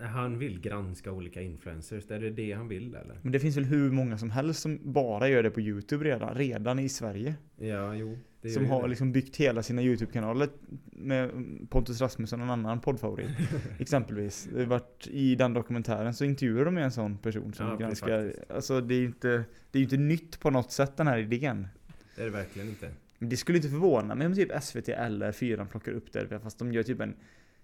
Han vill granska olika influencers. Är det det han vill eller?
Men det finns väl hur många som helst som bara gör det på YouTube redan, redan i Sverige.
Ja, jo. det
Som
gör ju
har
det.
liksom byggt hela sina YouTube-kanaler med Pontus Rasmusson, en annan poddfavorit. exempelvis. Det vart I den dokumentären så intervjuar de ju en sån person som
Ja, det är
granskar.
faktiskt.
Alltså det är ju inte, det är ju inte nytt på något sätt den här idén.
Det är det verkligen inte.
Men Det skulle inte förvåna mig om typ SVT eller 4 plockar upp det. Fast de gör typ en...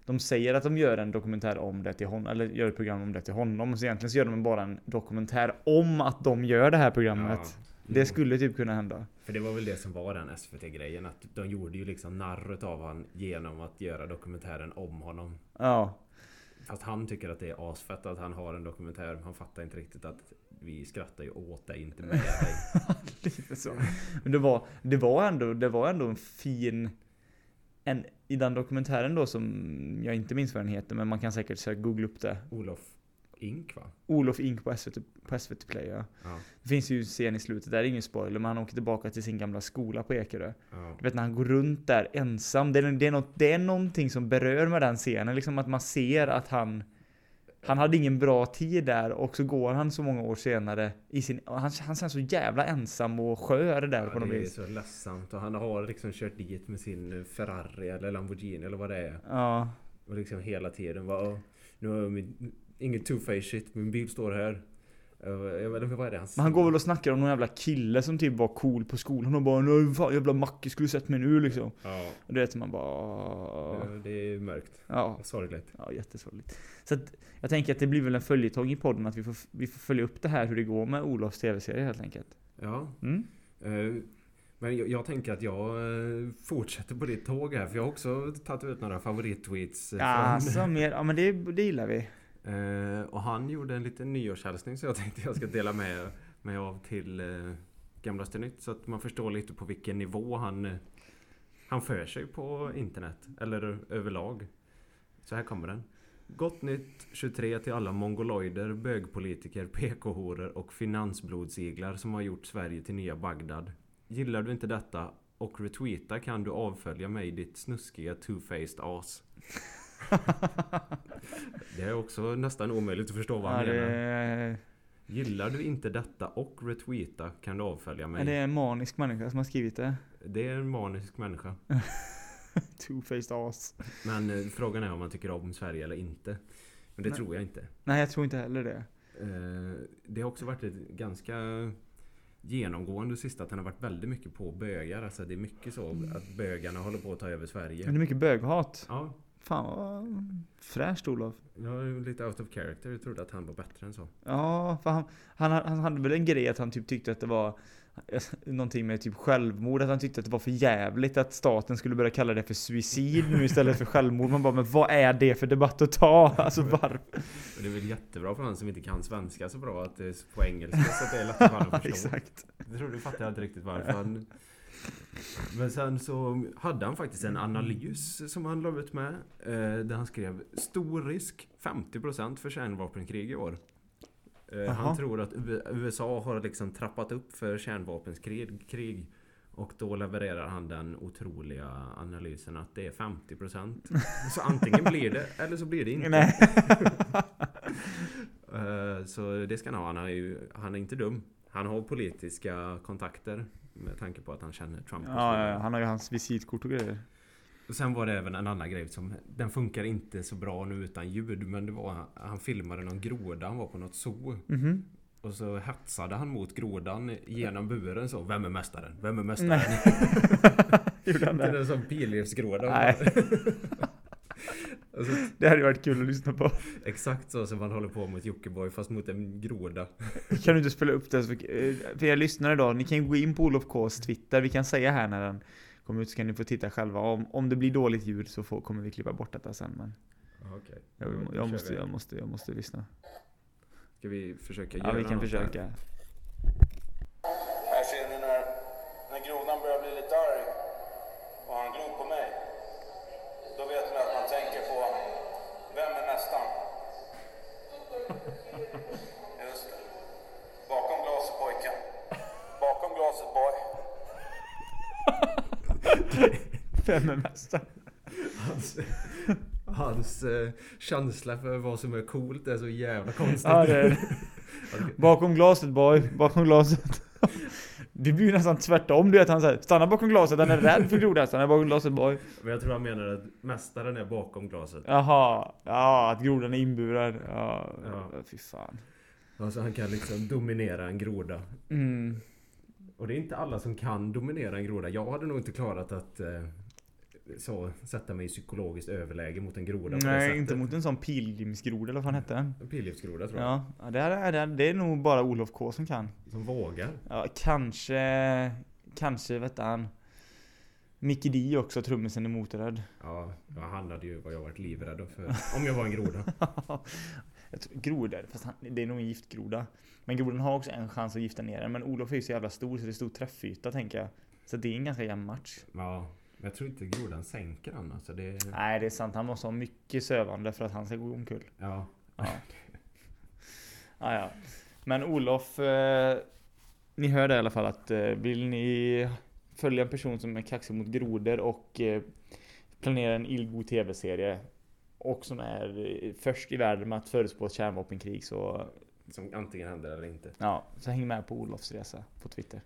De säger att de gör en dokumentär om det till honom, eller gör ett program om det till honom. Så egentligen så gör de bara en dokumentär om att de gör det här programmet. Det
Jo.
skulle typ kunna hända.
För det var väl det som var den SVT-grejen. Att de gjorde ju liksom narr av han genom att göra dokumentären om honom.
Ja.
Fast han tycker att det är asfett att han har en dokumentär. Men han fattar inte riktigt att vi skrattar ju åt dig, inte med dig.
Lite så. Men det var, det var, ändå, det var ändå en fin... En, I den dokumentären då som jag inte minns vad den heter, men man kan säkert söka, googla upp det.
Olof Ink va?
Olof Ink på SVT, på SVT Play ja.
Ja.
Det finns ju en scen i slutet, där är ingen spoiler, men han åker tillbaka till sin gamla skola på Ekerö.
ja.
Du vet när han går runt där ensam, det är, det är, något, det är någonting som berör med den scenen, liksom att man ser att han han hade ingen bra tid där och så går han så många år senare i sin... och Han, han känns så jävla ensam och skör där på
Ja,
något
det är
vis.
så ledsamt och han har liksom kört dit med sin Ferrari eller Lamborghini eller vad det är.
Ja.
Och liksom hela tiden bara "Åh, Nu har jag min... Ingen two-face shit, min bil står här. Eh, Jag vet inte vad är det han
Men han går väl och snackar om någon jävla kille som typ var cool på skolan och bara Nej fan jävla Macke skulle sett mig nu liksom.
Ja,
Och det vet man bara...
det är mörkt.
Ja.
Sorgligt.
Ja, jättesorgligt. Så att, jag tänker att det blir väl en följetong i podden att vi får, vi får följa upp det här hur det går med Olofs tv-serie helt enkelt.
Ja.
Mm.
eh, Men jag, jag tänker att jag eh, fortsätter på ditt tåg här. För jag har också tagit ut några favorittweets. eh,
Ja,
från-
så mer, ja men det, det gillar vi.
Eh, Och han gjorde en liten nyårshälsning så jag tänkte jag ska dela med mig av till eh, Gamlaste Nytt. Så att man förstår lite på vilken nivå han, eh, han för sig på internet. Eller överlag. Så här kommer den. Gott nytt 23 till alla mongoloider, bögpolitiker, PK-horor och finansblodsiglar som har gjort Sverige till nya Bagdad. Gillar du inte detta och retweeta kan du avfölja mig ditt snuskiga two-faced as. Det är också nästan omöjligt att förstå vad
Ja,
han
det,
menar.
är-
Gillar du inte detta och retweeta kan du avfölja mig.
är det en manisk människa som har skrivit det?
Det är en manisk människa.
Two-faced as.
Men eh, frågan är om man tycker om Sverige eller inte. Men det
Nej.
tror jag inte.
Nej, jag tror inte heller det.
Eh, Det har också varit ett ganska genomgående sist att han har varit väldigt mycket på bögar. Alltså det är mycket så att bögarna håller på att ta över
Men det
Sverige.
är mycket böghat.
Ja,
Fan vad fräscht Olof.
jag är ju lite out of character. Jag trodde att han var bättre än så.
Ja, för han, han, han hade väl en grej att han typ tyckte att det var eh, någonting med typ självmord, att han tyckte att det var för jävligt att staten skulle börja kalla det för suicid nu istället för självmord. Man bara, men vad är det för debatt att ta? Alltså varför?
Och det är väl jättebra för han som inte kan svenska så bra att det är på engelska så att det är lättare för honom att förstå.
Exakt.
Jag tror du fattar inte riktigt varför han... Men sen så hade han faktiskt en analys som han la ut med. eh, Där han skrev Stor risk 50% för kärnvapenkrig i år. Eh,
Jaha.
Han tror att U- USA har liksom trappat upp för kärnvapenkrig. Krig. Och då levererar han den otroliga analysen att det är 50% Så antingen blir det eller så blir det inte.
Nej.
Eh, Så det ska han ha. Han är, ju, han är inte dum. Han har politiska kontakter med tanke på att han känner Trump. och så
Ja, ja,
vidare.
ja, han har ju hans visitkort och grejer.
Och sen var det även en annan grej som... Den funkar inte så bra nu utan ljud. Men det var... Han filmade någon groda. Han var på något zoo.
Mhm.
Och så hetsade han mot grodan genom buren så. Vem är mästaren? Vem är mästaren?
Gjorde han
det är
det?
en sån pilgrimsgroda.
Nej.
Och så,
Det hade ju varit kul att lyssna på.
exakt så som man håller på mot Jockiboi fast mot en groda.
Kan du inte spela upp det? så- eh, För er lyssnare då, ni kan ju gå in på Olof Ks Twitter. Vi kan säga här när den kommer ut så kan ni få titta själva. Om, om det blir dåligt ljud så får, kommer vi klippa bort detta sen. Men
Okej.
jag, jag, måste, jag, måste, jag måste lyssna.
Ska vi försöka
Ja, vi kan
något här?
försöka.
Här ser ni när, när grodan börjar bli lite arg och han glor på mig. Då vet man att man tänker på vem är mästaren? Just det. Bakom glaset pojken. Bakom glaset boy.
Vem är mästaren?
Hans, Hans eh, känsla för vad som är coolt är så jävla konstigt.
Ja, det är det. Bakom glaset boy, bakom glaset. Det blir ju nästan tvärtom du vet, han säger stanna bakom glaset, han är rädd för grodan, stanna bakom glaset boy.
Men jag tror han menar att mästaren är bakom glaset.
Jaha, ja att grodan är inburad. Ja,
Ja.
fy fan.
Alltså han kan liksom dominera en groda.
Mm.
Och det är inte alla som kan dominera en groda. Jag hade nog inte klarat att eh, så, sätta mig i psykologiskt överläge mot en groda på det
Nej,
sättet.
inte mot en sån pilgrimsgroda eller vad han hette.
En pilgiftsgroda tror jag.
Ja, ja, det, är, det, är, det är nog bara Olof K som kan.
Som vågar.
Ja, kanske, kanske vet han. Mickey D också, trummisen i Motörhead.
Ja, ja, han hade ju vad jag varit livrädd för. Om jag var en groda.
Jag tror, grodor, fast han, det är nog en giftgroda. Men grodan har också en chans att gifta ner den. Men Olof är ju så jävla stor så det är stor träffyta tänker jag. Så det är en ganska jämn match.
Ja. Men jag tror inte grodan sänker han alltså. Det,
Nej, det är sant. Han måste ha mycket sövande för att han ska gå omkull.
ja.
Ah, ja. Men Olof, eh, ni hör det i alla fall att eh, vill ni följa en person som är kaxig mot grodor och eh, planerar en illgod tv-serie och som är eh, först i världen med att förutspå ett kärnvapenkrig så,
Som antingen händer eller inte.
ja, så häng med på Olofs resa på Twitter.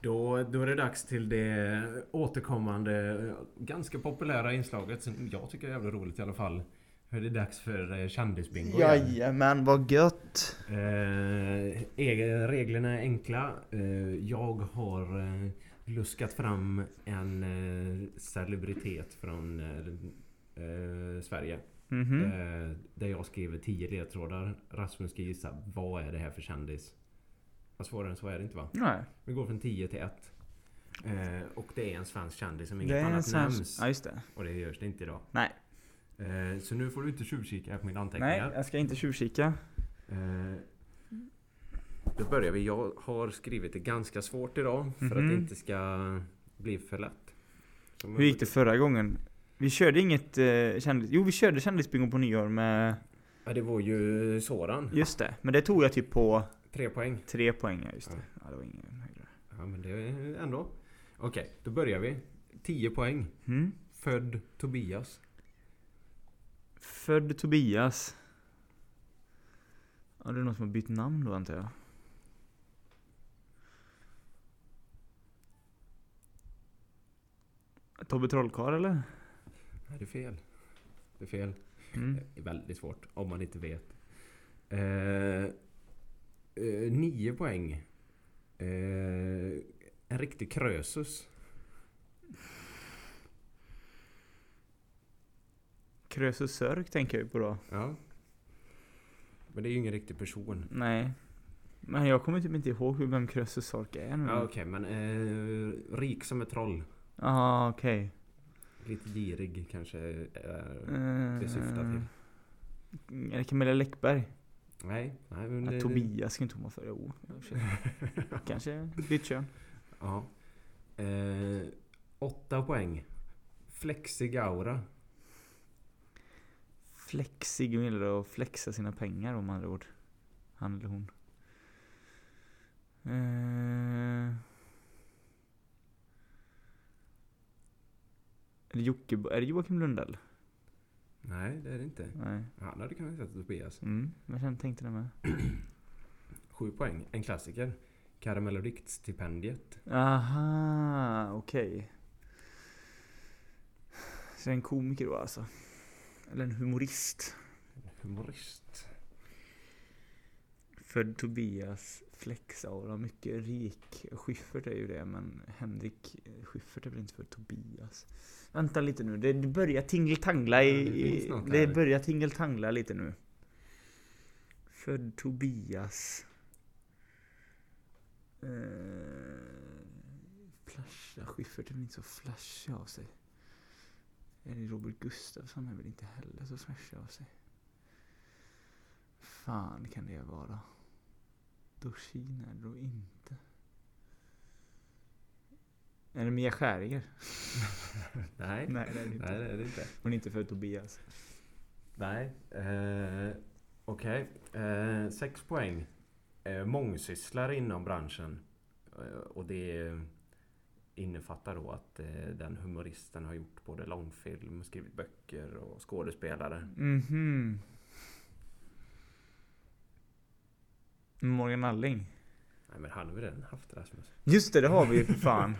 Då, då är det dags till det återkommande, eh, ganska populära inslaget som jag tycker är jävla roligt i alla fall. Hur det är dags för eh, kändisbingo igen.
Jajamän, vad gött!
Eh, egen- reglerna är enkla. Eh, jag har eh, luskat fram en eh, celebritet från eh, eh, Sverige. Eh, där jag skriver 10 ledtrådar. Rasmus ska gissa vad är det här för kändis. Vad svårare än så är det inte va?
Nej,
Vi går från 10 till 1. Eh, och det är en svensk kändis som inget
det är en
annat
sån...
nämns.
Ja, just det.
Och det görs det inte idag.
Nej,
Eh, så nu får du inte tjuvkika här på mina
nej,
anteckningar.
jag ska inte tjuvkika.
Eh, Då börjar vi. Jag har skrivit det ganska svårt idag för att det
Mhm.
inte ska bli för lätt. Som
Hur gick det förra gången? Vi körde inget eh, kändis... Jo, vi körde kändisbingo på nyår med...
Ja, det var ju Soran.
Just det, men det tog jag typ på
Tre poäng.
tre poäng. ja, Just det. Ja, det var ingen höjdare.
Ja, men det är ändå. Okej, då börjar vi. 10 poäng.
Mm.
Född Tobias.
Född Tobias. Ja, det är någon som har bytt namn då antar jag. Tobbe Trollkarl eller?
Nej, det är fel. Det är fel.
Mm.
Det är väldigt svårt om man inte vet. Eh, eh, nio poäng. Eh, en riktig krösus.
Krösus Sörk tänker jag ju på då.
Ja. Men det är ju ingen riktig person.
Nej. Men jag kommer typ inte ihåg hur- vem Krösus Sörk är nu.
Ja okej men eh, rik som ett troll.
ah, okej.
Lite girig kanske är
Eh,
det syftar till.
Är det Eh, Camilla Läckberg?
Nej. nej men,
Ja,
det-
Tobias ska inte hon vara för. Jo, kanske. Ditt kön.
Ja. Eh, åtta poäng. Flexig aura.
Flexig och gillar att flexa sina pengar om andra ord. Han eller hon. Eh. Är det, Jocke, är det Joakim Lundell?
Nej det är det inte.
Nej.
Han hade kunnat heta Tobias.
Mm, men jag tänkte det med.
Sju poäng. En klassiker. Karamell och diktstipendiet.
Aha, okej. Så en komiker då alltså. Eller en humorist.
Humorist.
För Tobias flexaura, mycket rik. Schyffert är ju det, men Henrik eh, Schyffert är väl inte för Tobias? Vänta lite nu, det det börjar tingeltangla i...
Ja, det finns
i-
något
det
här.
börjar tingeltangla lite nu. För Tobias... Eh, flasha, Schyffert är väl inte så flashig av sig? Är det Robert Gustafsson är väl inte heller så flashig av sig? fan kan det vara? Dorsin är det då inte. Är det Mia Skäringer?
Nej. Nej.
Nej, det är det
Nej
inte.
det är det inte.
Hon är inte för Tobias.
Nej. Eh, Okej. Eh, sex poäng. Eh, mångsysslare inom branschen. Eh, och det är innefattar då att eh, den humoristen har gjort både långfilm, skrivit böcker och skådespelare.
Mhm. Morgan Alling.
Nej men han har vi redan haft Rasmus.
Just det, det har vi ju för fan.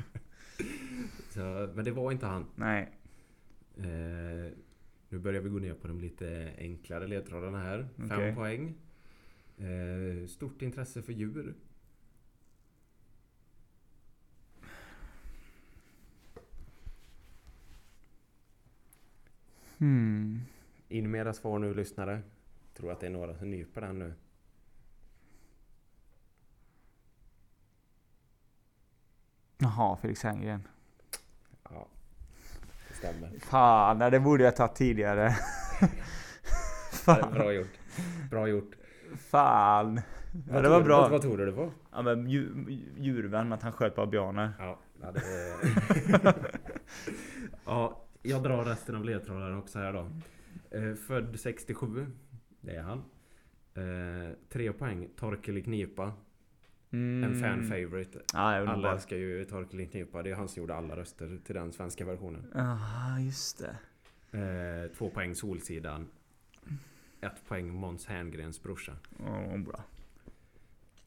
Så, men det var inte han.
Nej.
Eh, nu börjar vi gå ner på de lite enklare ledtrådarna här.
Okej.
Fem poäng. Eh, stort intresse för djur.
Hmm.
In med era svar nu lyssnare. Tror att det är några som nyper den nu.
Jaha, Felix Herngren.
Ja, det stämmer.
Fan, nej, det borde jag tagit tidigare.
Bra gjort. Bra gjort.
Fan. Ja, det var
Vad tror du- Vad,
bra.
vad tror du det var?
Ja, men djur, djurvän, att han sköt babianer.
Ja, ja, det ja, jag drar resten av ledtrådarna också här då. Eh, född 67. Det är han. Eh, tre poäng. Torkel i knipa.
Mm.
En fan favorite.
Ja, jag
Alla
undrar.
älskar ju Torkel i knipa. Det är han som gjorde alla röster till den svenska versionen.
Ah, just det.
Eh, två poäng Solsidan. Ett poäng Måns Herngrens brorsa.
Ja, bra.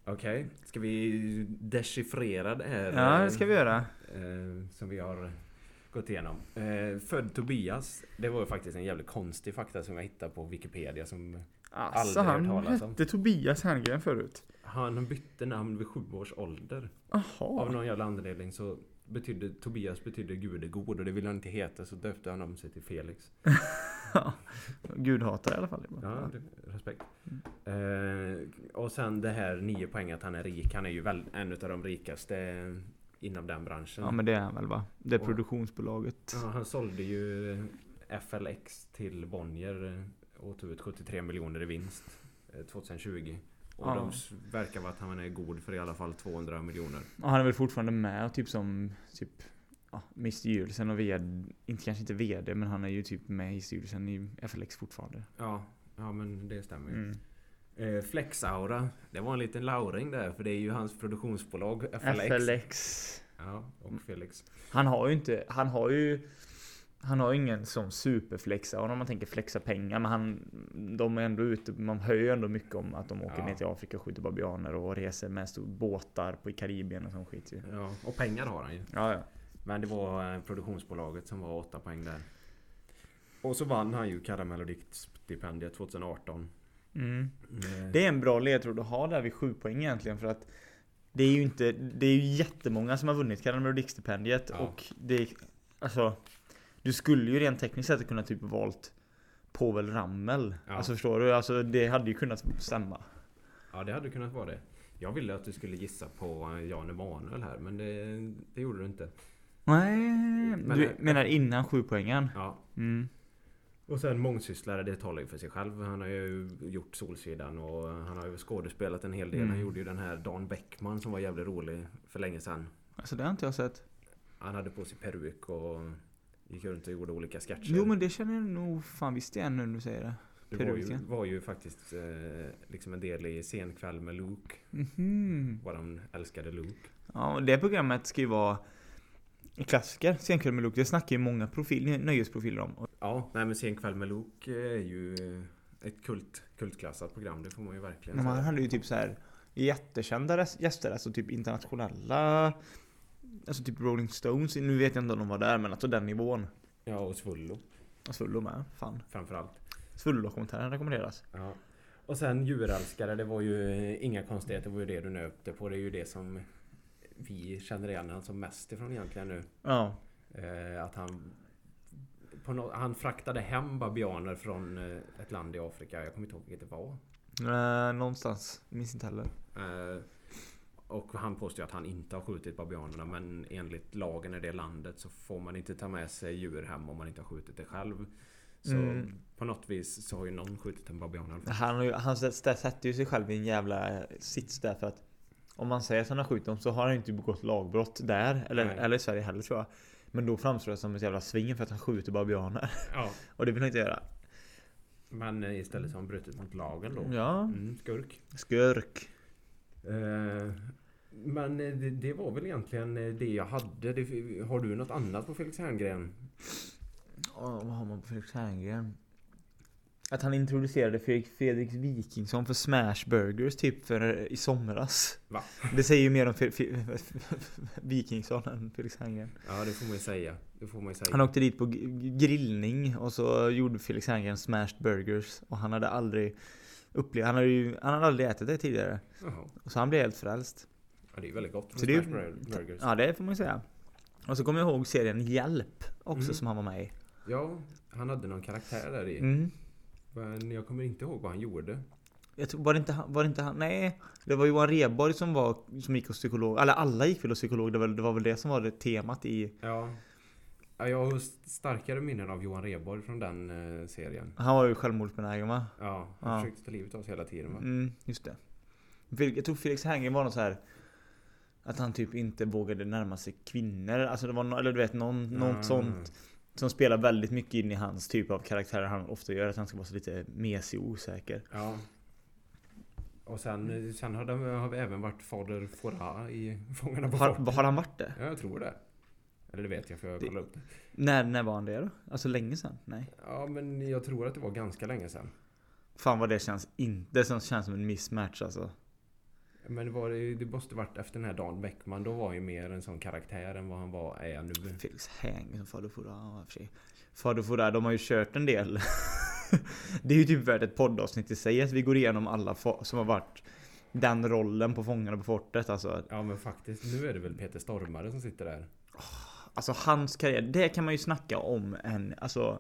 Okej, ska vi dechiffrera det här?
Ja, det ska vi göra.
eh, som vi har gått igenom. Eh, född Tobias. Det var ju faktiskt en jävligt konstig fakta som jag hittade på Wikipedia. Som
Alltså,
Aldrig
han
hört talas om.
hette Tobias Herngren förut.
han bytte namn vid sju års ålder. Av
Jaha.
någon jävla anledning så betydde Tobias betydde Gud är god och det ville han inte heta så döpte han om sig till Felix.
Gud hatar i alla fall.
Ja, det- respekt. Eh, och sen det här nio poäng att han är rik. Han är ju väl, en av de rikaste inom den branschen.
Ja men det är han väl va? Det är
Ja.
produktionsbolaget.
Ja, han sålde ju FLX till Bonnier och tog ut 73 miljoner i vinst eh, 2020. Och
Ja.
de s- verkar vara att han är god för i alla fall 200 miljoner.
Ja, han är väl fortfarande med och typ som typ ja, med i styrelsen och vd, inte, kanske inte vd men han är ju typ med i styrelsen i FLX fortfarande.
Ja, ja men det stämmer ju.
Mm.
Eh, Flexaura, det var en liten lauring där för det är ju hans produktionsbolag FLX. Ja, och Felix.
Han har ju inte, han har ju han har ju ingen sån superflexa och om man tänker flexa pengar men han, de är ändå ute, man hör ju ändå mycket om att de åker
Ja.
ner till Afrika och skjuter babianer och reser med stor båtar på i Karibien och sån skit ju.
Ja, och pengar har han ju.
Ja, ja.
Men det var eh, produktionsbolaget som var 8 poäng där. Och så vann han ju Karamellodiktstipendiet 2018.
Mm.
Eh,
Det är en bra ledtråd att ha där vid 7 poäng egentligen för att det är ju inte, det är ju jättemånga som har vunnit Karamellodiktstipendiet
Ja.
och det är, alltså Du skulle ju rent tekniskt sett kunna typ valt Povel Ramel.
Ja.
Alltså förstår du? Alltså det hade ju kunnat stämma.
Ja, det hade kunnat vara det. Jag ville att du skulle gissa på eh, Jan Emanuel här, men det, det gjorde du inte.
Nej,
Men-
du menar innan 7 poängen?
Ja.
Mm.
Och sen mångsysslare, det talar ju för sig själv. Han har ju gjort Solsidan och han har ju skådespelat en hel del. Han
Mm.
gjorde ju den här Dan Bäckman som var jävligt rolig för länge sedan.
Alltså det har inte jag sett.
Han hade på sig peruk och gick runt och gjorde olika sketcher.
Jo men det känner jag nog fan visst igen nu när du säger det.
det var ju,
peruken.
var ju faktiskt eh, liksom en del i Senkväll med Luke.
Mhm.
Våran älskade Luke.
Ja, och det programmet ska ju vara en klassiker. Senkväll med Luke. Det snackar ju många profil, nöjesprofiler om. Och
Ja, nej men Senkväll med Luke är ju ett kult, kultklassat program. Det får man ju verkligen
de här
säga.
hade ju typ så här jättekända res- gäster, alltså typ internationella Alltså typ Rolling Stones, nu vet jag inte om de var där men alltså den nivån. Alltså,
Ja, och Svullo
Och Svullo med, fan.
framförallt.
Svullo-dokumentären rekommenderas.
Ja. Och sen djurälskare, det var ju inga konstigheter. Det var ju det du nöpte på. Det är ju det som vi känner igen han som mest ifrån egentligen nu.
Ja.
Eh, att han... På nå- han fraktade hem babianer från eh, ett land i Afrika. Jag kommer inte ihåg vilket det var.
Eh, någonstans, minns inte heller.
Eh, och han påstår ju att han inte har skjutit babianerna men enligt lagen i det landet så får man inte ta med sig djur hem om man inte har skjutit det själv. Så
Mm.
på något vis så har ju någon skjutit en babian i alla fall.
Han, har ju- han s- s- sätter ju sig själv i en jävla eh, sits där för att Om man säger att han har skjutit dem så har han ju inte begått lagbrott där eller,
Nej.
eller i Sverige heller tror jag Men då framstår det som ett jävla svin för att han skjuter babianer
Ja,
Och det vill han inte göra
men eh, istället Mm, så har han brutit mot lagen då.
Ja
Mm, skurk.
Skurk
Eh, Men eh, det, det var väl egentligen eh, det jag hade. Det, har du något annat på Felix Herngren?
Ja, vad har man på Felix Herngren? Att han introducerade Fredrik, Fredrik Wikingsson för Smash Burgers typ för, i somras.
Va?
Det säger ju mer om Fe, Fe, Wikingsson än Felix Herngren.
Ja, det får man ju säga. Det får man ju säga.
Han åkte dit på g- grillning och så gjorde Felix Herngren smashed burgers och han hade aldrig upplevt, han hade ju, han hade aldrig ätit det tidigare.
Jaha.
Och så han blev helt frälst.
Ja, det är ju väldigt gott.
Så
med
det är ju-
Smash Bur- Burgers.
Ja det får man ju säga. Och så kommer jag ihåg serien Hjälp också
Mm.
som han var med i.
Ja, han hade någon karaktär där i.
Mm.
Men jag kommer inte ihåg vad han gjorde.
Jag tror, var, det inte han, var det inte han? Nej, det var Johan Rheborg som, var, som gick hos psykolog. Eller alla gick väl hos psykolog. Det var, det var väl det som var det temat i...
Ja. Ja, Jag har st- starkare minnen av Johan Rheborg från den eh, serien.
Han var ju självmordsbenägen va?
Ja, han
Ja.
försökte ta livet av sig hela tiden va?
Mm, just det. Fel- Jag tror Felix Herngren var någon så här att han typ inte vågade närma sig kvinnor. Alltså det var no, eller du vet någon,
Mm.
något sånt som spelar väldigt mycket in i hans typ av karaktär han ofta gör. Att han ska vara så lite mesig och osäker.
Ja. Och sen, eh, sen har, de, har vi även varit fader Fora i Fångarna på fortet.
Har, har han varit det?
Ja, jag tror det. Eller det vet jag för jag
Det-
kollade upp det.
När, när var han det då? Alltså länge sedan? Nej.
Ja, men jag tror att det var ganska länge sedan.
Fan vad det känns inte. Det känns känns som en mismatch alltså.
Men det, var, det måste varit efter den här Dan Bäckman. Då var han ju mer en sån karaktär än vad han var är nu.
Felix Häng som Fader Fouras, ja, i och för sig. Fader Fouras, de har ju kört en del. det är ju typ värt ett poddavsnitt i sig att vi går igenom alla fa- som har varit den rollen på Fångarna på fortet. Alltså,
Ja, men faktiskt. Nu är det väl Peter Stormare som sitter där.
alltså hans karriär, det kan man ju snacka om en, alltså.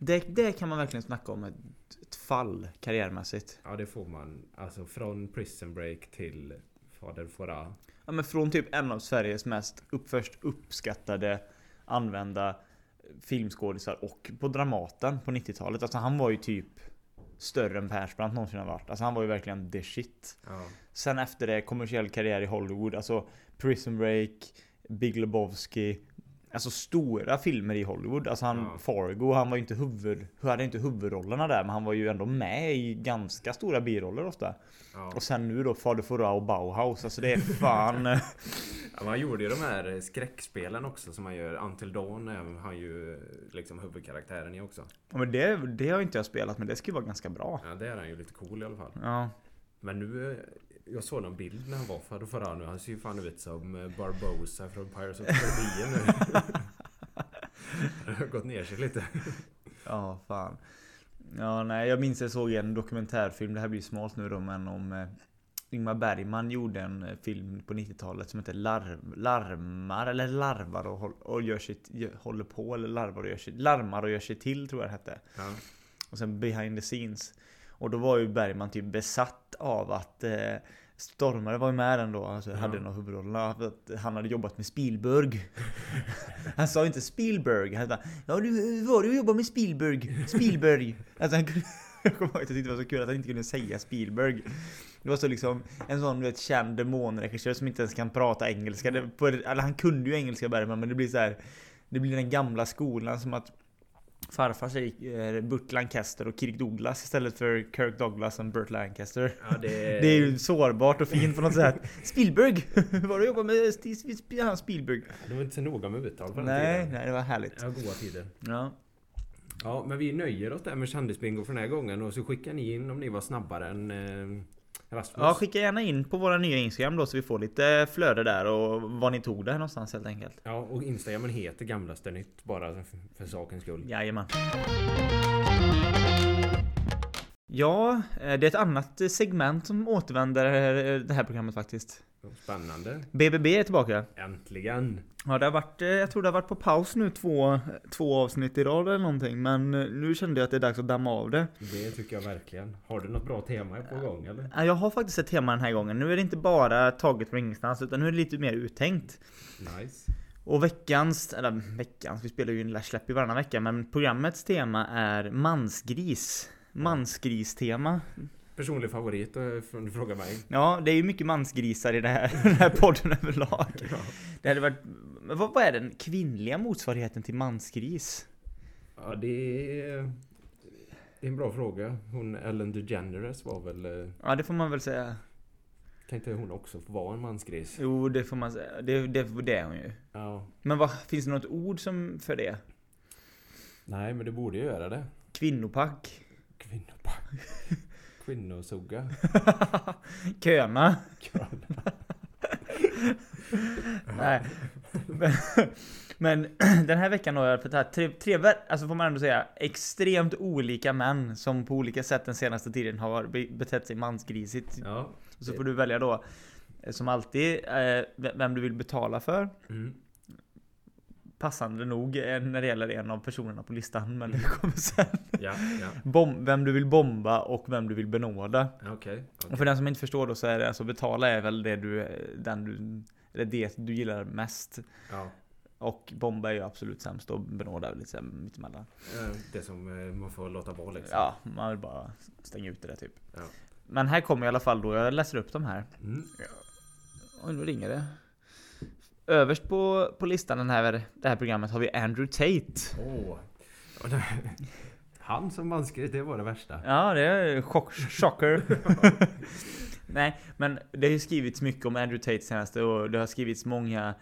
Det, det kan man verkligen snacka om ett, ett fall karriärmässigt.
Ja, det får man. Alltså från Prison Break till Fader Fora.
Ja, men från typ en av Sveriges mest upp, först uppskattade använda filmskådisar och på Dramaten på 90-talet. Alltså han var ju typ större än Persbrandt någonsin har varit. Alltså han var ju verkligen the shit.
Ja.
Sen efter det kommersiell karriär i Hollywood. Alltså Prison Break, Big Lebowski. Alltså stora filmer i Hollywood. Alltså han,
Ja.
Fargo, han var ju inte huvud, hade inte huvudrollerna där men han var ju ändå med i ganska stora biroller ofta.
Ja.
Och sen nu då Fader Fouras och Bauhaus. Alltså det är fan...
Ja, men han gjorde ju de här skräckspelen också som han gör. Until Dawn är han ju liksom huvudkaraktären i också.
Ja, men det, det har inte jag spelat, men det ska ju vara ganska bra.
Ja, det är han ju lite cool i alla fall.
Ja.
Men nu... eh, Jag såg någon bild när han var för, förra nu. Han ser ju fan ut som eh, Barbosa från Pirates of the Caribbean nu. Han har gått ner sig lite.
Ja, fan. Ja, nej, jag minns jag såg en dokumentärfilm, det här blir ju smalt nu då, men om eh, Ingmar Bergman gjorde en eh, film på 90-talet som heter Larv, Larmar, eller Larvar och, håll, och gör sitt, gö- håller på, eller Larvar och gör sitt, Larmar och gör sig till tror jag det hette.
Ja.
Och sen behind the scenes. Och då var ju Bergman typ besatt av att eh, Stormare var ju med den då, alltså, hade en av huvudrollerna. För att han hade jobbat med Spielberg. han sa inte Spielberg, han sa Ja du var du och jobbade med Spielberg, Spielberg. alltså han kunde, jag kommer ihåg att jag tyckte det var så kul att han inte kunde säga Spielberg. Det var så liksom en sån du vet, känd demonregissör som inte ens kan prata engelska. Det, på, eller han kunde ju engelska Bergman men det blir så här. Det blir den gamla skolan som att Farfar säger eh, Burt Lancaster och Kirk Douglas istället för Kirk Douglas och Burt Lancaster.
Ja, det,
Det är ju sårbart och fint på något sätt. Spielberg! Var du jobbar med Sti- Sp- Sp- han Spielberg?
De var inte så noga med uttal på den
Nej,
tiden.
nej, det var härligt.
Ja, goda tider.
Ja.
Ja, men vi nöjer oss där med kändisbingo för den här gången. Och så skickar ni in om ni var snabbare än eh, Rasmus.
ja, skicka gärna in på våra nya Instagram då så vi får lite flöde där och var ni tog det här någonstans helt enkelt.
Ja, och Instagramen heter Gamlaste Nytt bara för, för sakens skull.
Jajamän. Ja, eh, det är ett annat eh, segment som återvänder eh, det här programmet faktiskt.
Spännande.
BBB är tillbaka.
Äntligen!
Ja, det har varit, eh, jag tror det har varit på paus nu två, två avsnitt i rad eller någonting, men eh, nu kände jag att det är dags att damma av det.
Det tycker jag verkligen. Har du något bra tema på gång eller?
Ja, Jag har faktiskt ett tema den här gången. Nu är det inte bara taget från ingenstans, utan nu är det lite mer uttänkt.
Nice.
Och veckans, eller veckans, vi spelar ju en släpp i varannan vecka, men programmets tema är mansgris. Mansgristema.
Personlig favorit eh, från du frågar mig.
Ja, det är ju mycket mansgrisar i det här, den här podden överlag. Det hade varit, men vad, vad är den kvinnliga motsvarigheten till mansgris?
Ja, det är... Det är en bra fråga. Hon Ellen DeGeneres var väl... eh,
Ja, det får man väl säga.
Tänkte hon också få vara en mansgris.
Jo, det får man säga. Det, det, det är hon ju.
Ja.
Men vad, finns det något ord som för det?
Nej, men du borde ju göra det.
Kvinnopack?
Kvinnopack. Kvinnosugga.
Köna?
Kön.
Nej. Men, men den här veckan har jag fått här tre, tre, ver- alltså får man ändå säga, extremt olika män som på olika sätt den senaste tiden har be- betett sig mansgrisigt.
Ja.
Och så får du välja då, eh, som alltid, eh, ve- vem du vill betala för.
Mm.
Passande nog eh, när det gäller en av personerna på listan, men det kommer sen.
Ja, ja.
Bom- vem du vill bomba och vem du vill benåda.
Okej. okej.
Och för den som inte förstår då så är det alltså betala är väl det du, den du, eller det du gillar mest.
Ja.
Och bomba är ju absolut sämst och benåda är lite så här mittemellan.
Eh, Det som eh, man får låta vara liksom.
Ja, man vill bara stänga ut det där typ.
Ja.
Men här kommer i alla fall då, jag läser upp de här.
Mm.
Oj, nu ringer det. Överst på, på listan den här, det här programmet har vi Andrew Tate.
Åh. Och det- Han som mansgris, det var det värsta.
Ja, det är chock, chocker. Nej, men det har ju skrivits mycket om Andrew Tate senaste och det har skrivits många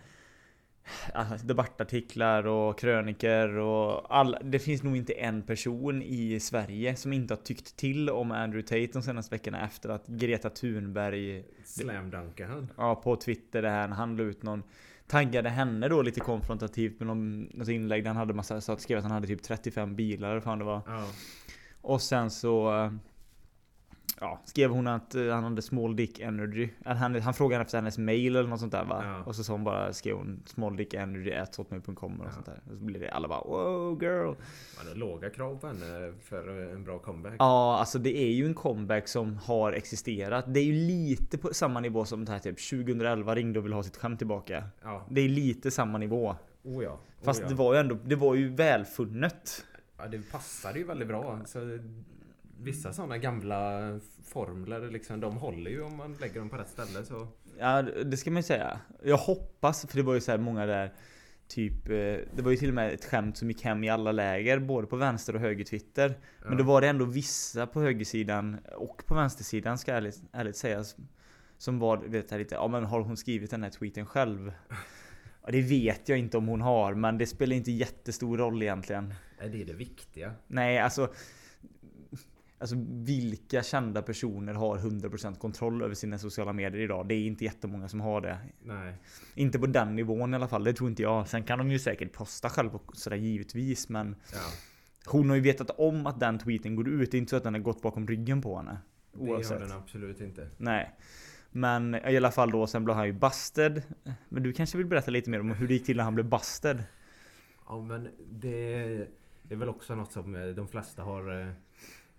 alltså, debattartiklar och kröniker och all, det finns nog inte en person i Sverige som inte har tyckt till om Andrew Tate de senaste veckorna efter att Greta Thunberg
Slamdunkar han.
Ja, på Twitter där han la ut någon Taggade henne då lite konfrontativt med någon, något inlägg där han hade massa, så att skrev att han hade typ 35 bilar eller fan det var.
Ja.
Och sen så... eh, Ja, skrev hon att eh, han hade small dick energy. Att han, han frågade efter hennes mail eller något sånt där va?
Ja.
Och så sa hon bara skrev hon small dick energy at hotmail.com och
Ja.
sånt där. Och så blev det alla bara wow girl.
Han har låga krav på henne för en bra comeback.
Ja, alltså det är ju en comeback som har existerat. Det är ju lite på samma nivå som det här typ 2011 ringde och ville ha sitt skämt tillbaka.
Ja.
Det är lite samma nivå.
Oh ja.
Fast
oh ja.
det var ju ändå, det var ju välfunnet.
Ja, det passade ju väldigt bra. Så vissa sådana gamla formler, liksom, de håller ju om man lägger dem på rätt ställe. Så.
Ja, det ska man ju säga. Jag hoppas, för det var ju så här många där Typ, eh, det var ju till och med ett skämt som gick hem i alla läger, både på vänster och höger Twitter. Men då var det ändå vissa på högersidan och på vänstersidan, ska ärligt, ärligt sägas, som var vet jag, lite, ja men har hon skrivit den här tweeten själv? Ja, det vet jag inte om hon har, men det spelar inte jättestor roll egentligen.
Nej, det är det viktiga.
Nej, alltså... Alltså vilka kända personer har 100% kontroll över sina sociala medier idag? Det är inte jättemånga som har det.
Nej.
Inte på den nivån i alla fall, det tror inte jag. Sen kan de ju säkert posta själv och sådär givetvis, men
Ja.
hon har ju vetat om att den tweeten går ut. Det är inte så att den har gått bakom ryggen på henne.
Det
Oavsett.
gör den absolut inte.
Nej. Men i alla fall då, sen blev han ju busted. Men du kanske vill berätta lite mer om hur det gick till när han blev busted?
Ja, men det är väl också något som eh, de flesta har... eh,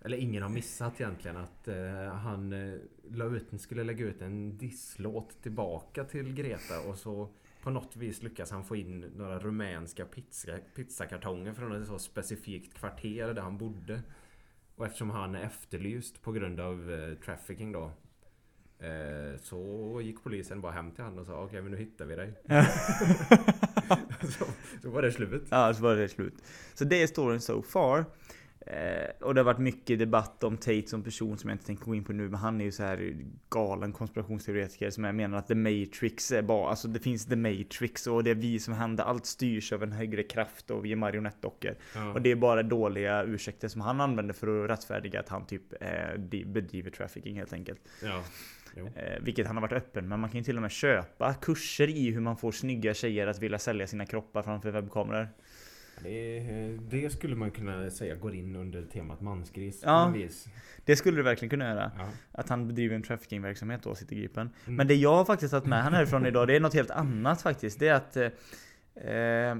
Eller ingen har missat egentligen att eh, han eh, la ut, skulle lägga ut en disslåt tillbaka till Greta och så på något vis lyckas han få in några rumänska pizza, pizzakartonger från ett så specifikt kvarter där han bodde. Och eftersom han är efterlyst på grund av eh, trafficking då eh, så gick polisen bara hem till honom och sa okej men nu hittar vi dig. så, så var det slut.
Ja, så var det slut. Så det är storyn so far. Eh, och det har varit mycket debatt om Tate som person som jag inte tänker gå in på nu. Men han är ju så här galen konspirationsteoretiker som jag menar att The Matrix är bara... Alltså det finns The Matrix och det är vi som händer. Allt styrs av en högre kraft och vi är marionettdockor.
Ja.
Och det är bara dåliga ursäkter som han använder för att rättfärdiga att han typ eh, de- bedriver trafficking helt enkelt.
Ja. Jo.
Eh, vilket han har varit öppen med. Man kan ju till och med köpa kurser i hur man får snygga tjejer att vilja sälja sina kroppar framför webbkameror.
Det, det skulle man kunna säga går in under temat mansgris.
Ja.
på något vis.
Det skulle du verkligen kunna göra.
ja.
Att han bedriver en traffickingverksamhet då, sitter gripen. Men det jag har faktiskt tagit med han härifrån idag, det är något helt annat faktiskt. Det är att... eh, Eh,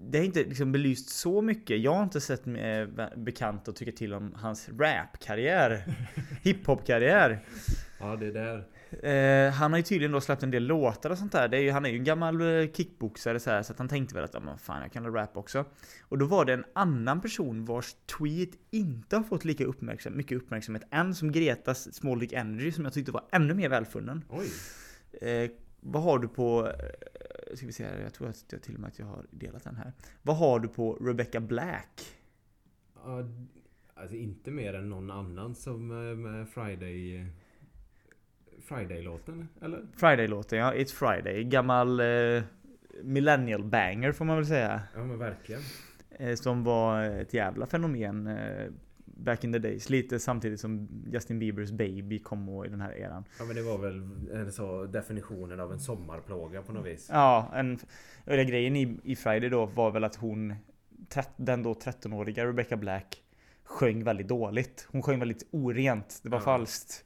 det är inte liksom belyst så mycket. Jag har inte sett mig eh, bekant och tycka till om hans rapkarriär. Hiphopkarriär.
ja, det där.
Eh, han har ju tydligen då släppt en del låtar och sånt där. Det är ju, han är ju en gammal eh, kickboxare så, här, så att han tänkte väl att "Ja, men fan jag kan väl rappa också. Och då var det en annan person vars tweet inte har fått lika uppmärksam, mycket uppmärksamhet än som Gretas Small Dick Energy som jag tyckte var ännu mer välfunnen.
Oj.
Eh, vad har du på... Eh, ska vi se här, jag tror att jag till och med att jag har delat den här. Vad har du på Rebecca Black?
Ja, alltså inte mer än någon annan som eh, med Friday... eh, Friday-låten, eller?
Friday-låten ja, It's Friday. Gammal eh, millennial banger får man väl säga.
Ja men verkligen.
Eh, som var ett jävla fenomen eh, back in the days. Lite samtidigt som Justin Biebers Baby kom och i den här eran.
Ja men det var väl en så definitionen av en sommarplåga på något vis.
Ja, en, eller grejen i, i Friday då var väl att hon, trett- den då 13-åriga Rebecca Black, sjöng väldigt dåligt. Hon sjöng väldigt orent, det var
Ja.
falskt.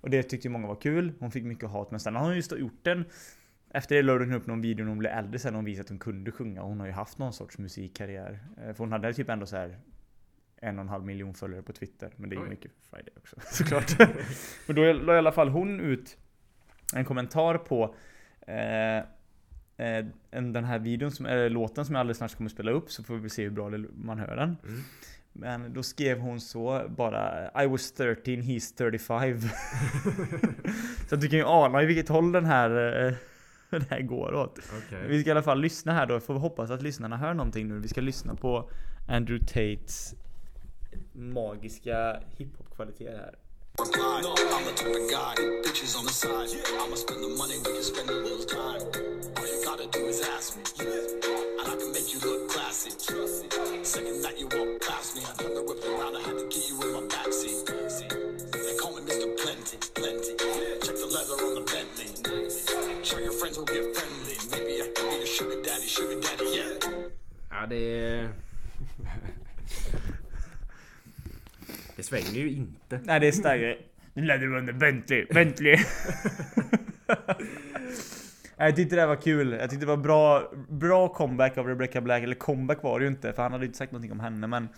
Och det tyckte ju många var kul. Hon fick mycket hat, men sen har hon just gjort den. Efter det lade hon upp någon video när hon blev äldre sen och hon visade att hon kunde sjunga. Hon har ju haft någon sorts musikkarriär. Eh, För hon hade typ ändå så här en och en halv miljon följare på Twitter. Men det är ju
Oj.
mycket Friday också såklart. Men då la i alla fall hon ut en kommentar på eh, eh, en- den här videon, som, eller låten som jag alldeles snart kommer spela upp så får vi se hur bra det, man hör den.
Mm.
Men då skrev hon så bara I was 13, he's 35. så att du kan ju ana i vilket håll den här, eh, den här går åt.
Okej.
Vi ska i alla fall lyssna här då, får vi hoppas att lyssnarna hör någonting nu. Vi ska lyssna på Andrew Tates magiska hiphop-kvaliteter här.
No, I'm a type of guy. Bitches on the side. I'ma spend the money, we can spend a little time. All you gotta do is ask me. And I can make you look classy. Second night you walk past me. I turned the whip around, I had to get you in my backseat. They call me Mr. Plenty, plenty. Check the leather on the Bentley. Sure your friends will get friendly. Maybe I can be your sugar daddy, sugar daddy, yeah.
Ja det... är- Det svänger ju inte.
Nej det är starkare. Nu lärde du under Bentley, Bentley. Nej, Jag tyckte det här var kul. Jag tyckte det var bra, bra comeback av Rebecca Black. Eller comeback var det ju inte för han hade ju inte sagt någonting om henne men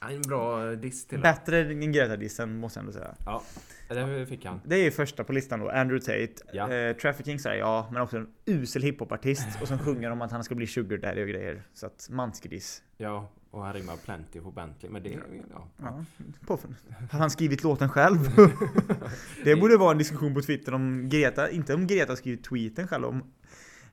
Ja, En bra diss till honom.
bättre än Greta-dissen måste jag ändå säga.
Ja, det fick han.
Det är ju första på listan då, Andrew Tate.
Ja.
Eh, Trafficking säger ja, men också en usel hiphopartist. Och sen sjunger de att han ska bli sugar daddy och grejer. Så att mansgris.
Ja, och han rimmar plenty på Bentley. Men det... Ja.
Ja, påfund. Har han skrivit låten själv? det borde vara en diskussion på Twitter om Greta, inte om Greta har skrivit tweeten själv, om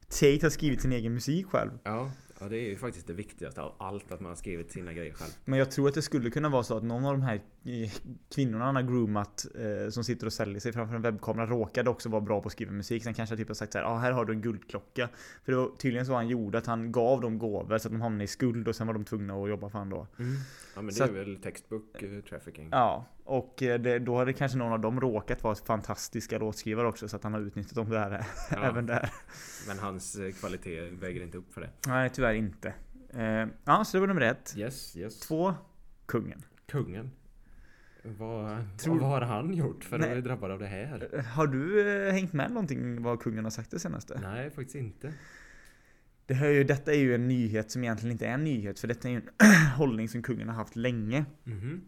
Tate har skrivit sin egen musik själv.
Ja, ja, det är ju faktiskt det viktigaste av allt. Att man har skrivit sina grejer själv.
Men jag tror att det skulle kunna vara så att någon av de här eh, kvinnorna han har groomat eh, som sitter och säljer sig framför en webbkamera råkade också vara bra på att skriva musik. Sen kanske jag typ har sagt så här, ah, här har du en guldklocka. För det var tydligen så han gjorde, att han gav dem gåvor så att de hamnade i skuld och sen var de tvungna att jobba för honom då.
Mm. Ja, men det
Så
är
att-
väl textbook eh, trafficking.
Ja, och eh, det, då hade kanske någon av dem råkat vara fantastiska låtskrivare också så att han har utnyttjat dem där,
Ja.
även där.
Men hans eh, kvalitet väger inte upp för det.
Nej, tyvärr inte. Eh, ja, så det var nummer ett.
Yes, yes.
Två, kungen.
Kungen. Vad,
Tror-
vad har han gjort för att
Nej.
bli drabbad av det här?
Eh, Har du eh, hängt med någonting vad kungen har sagt det senaste?
Nej, faktiskt inte.
Det här är ju, detta är ju en nyhet som egentligen inte är en nyhet för detta är ju en hållning som kungen har haft länge.
Mhm.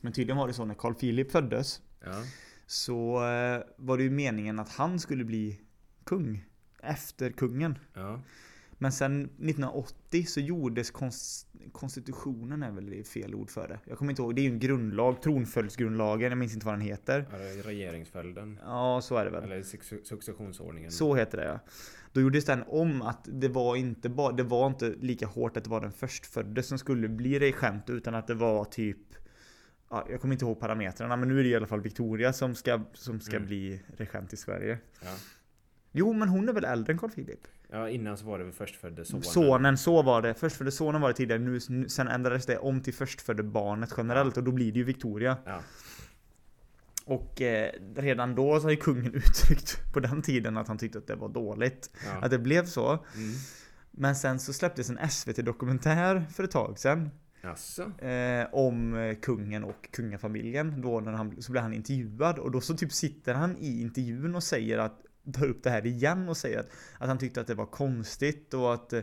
Men tydligen var det så när Carl Philip föddes
Ja.
så eh, var det ju meningen att han skulle bli kung efter kungen.
ja.
Men sen 1980 så gjordes konst, konstitutionen är väl det fel ord för det. Jag kommer inte ihåg, det är ju en grundlag, tronföljdsgrundlagen, jag minns inte vad den heter.
Ja, det är Regeringsföljden.
Ja, så är det väl.
Eller suc- successionsordningen.
Så heter det ja. Då gjordes den om att det var inte bara, det var inte lika hårt att det var den förstfödde som skulle bli regent utan att det var typ Ja, jag kommer inte ihåg parametrarna men nu är det i alla fall Victoria som ska, som ska
Mm.
bli regent i Sverige.
Ja.
Jo men hon är väl äldre än Carl Philip?
Ja, innan så var det väl förstfödde sonen.
Sonen, så var det. Förstfödde sonen var det tidigare, nu, nu, sen ändrades det om till förstfödde barnet generellt och då blir det ju Victoria.
Ja.
Och eh, redan då så har ju kungen uttryckt på den tiden att han tyckte att det var dåligt.
ja.
Att det blev så.
Mm.
Men sen så släpptes en SVT-dokumentär för ett tag sedan
Jaså?
eh, om eh, kungen och kungafamiljen. Då när han, så blev han intervjuad och då så typ sitter han i intervjun och säger att tar upp det här igen och säger att, att han tyckte att det var konstigt och att eh,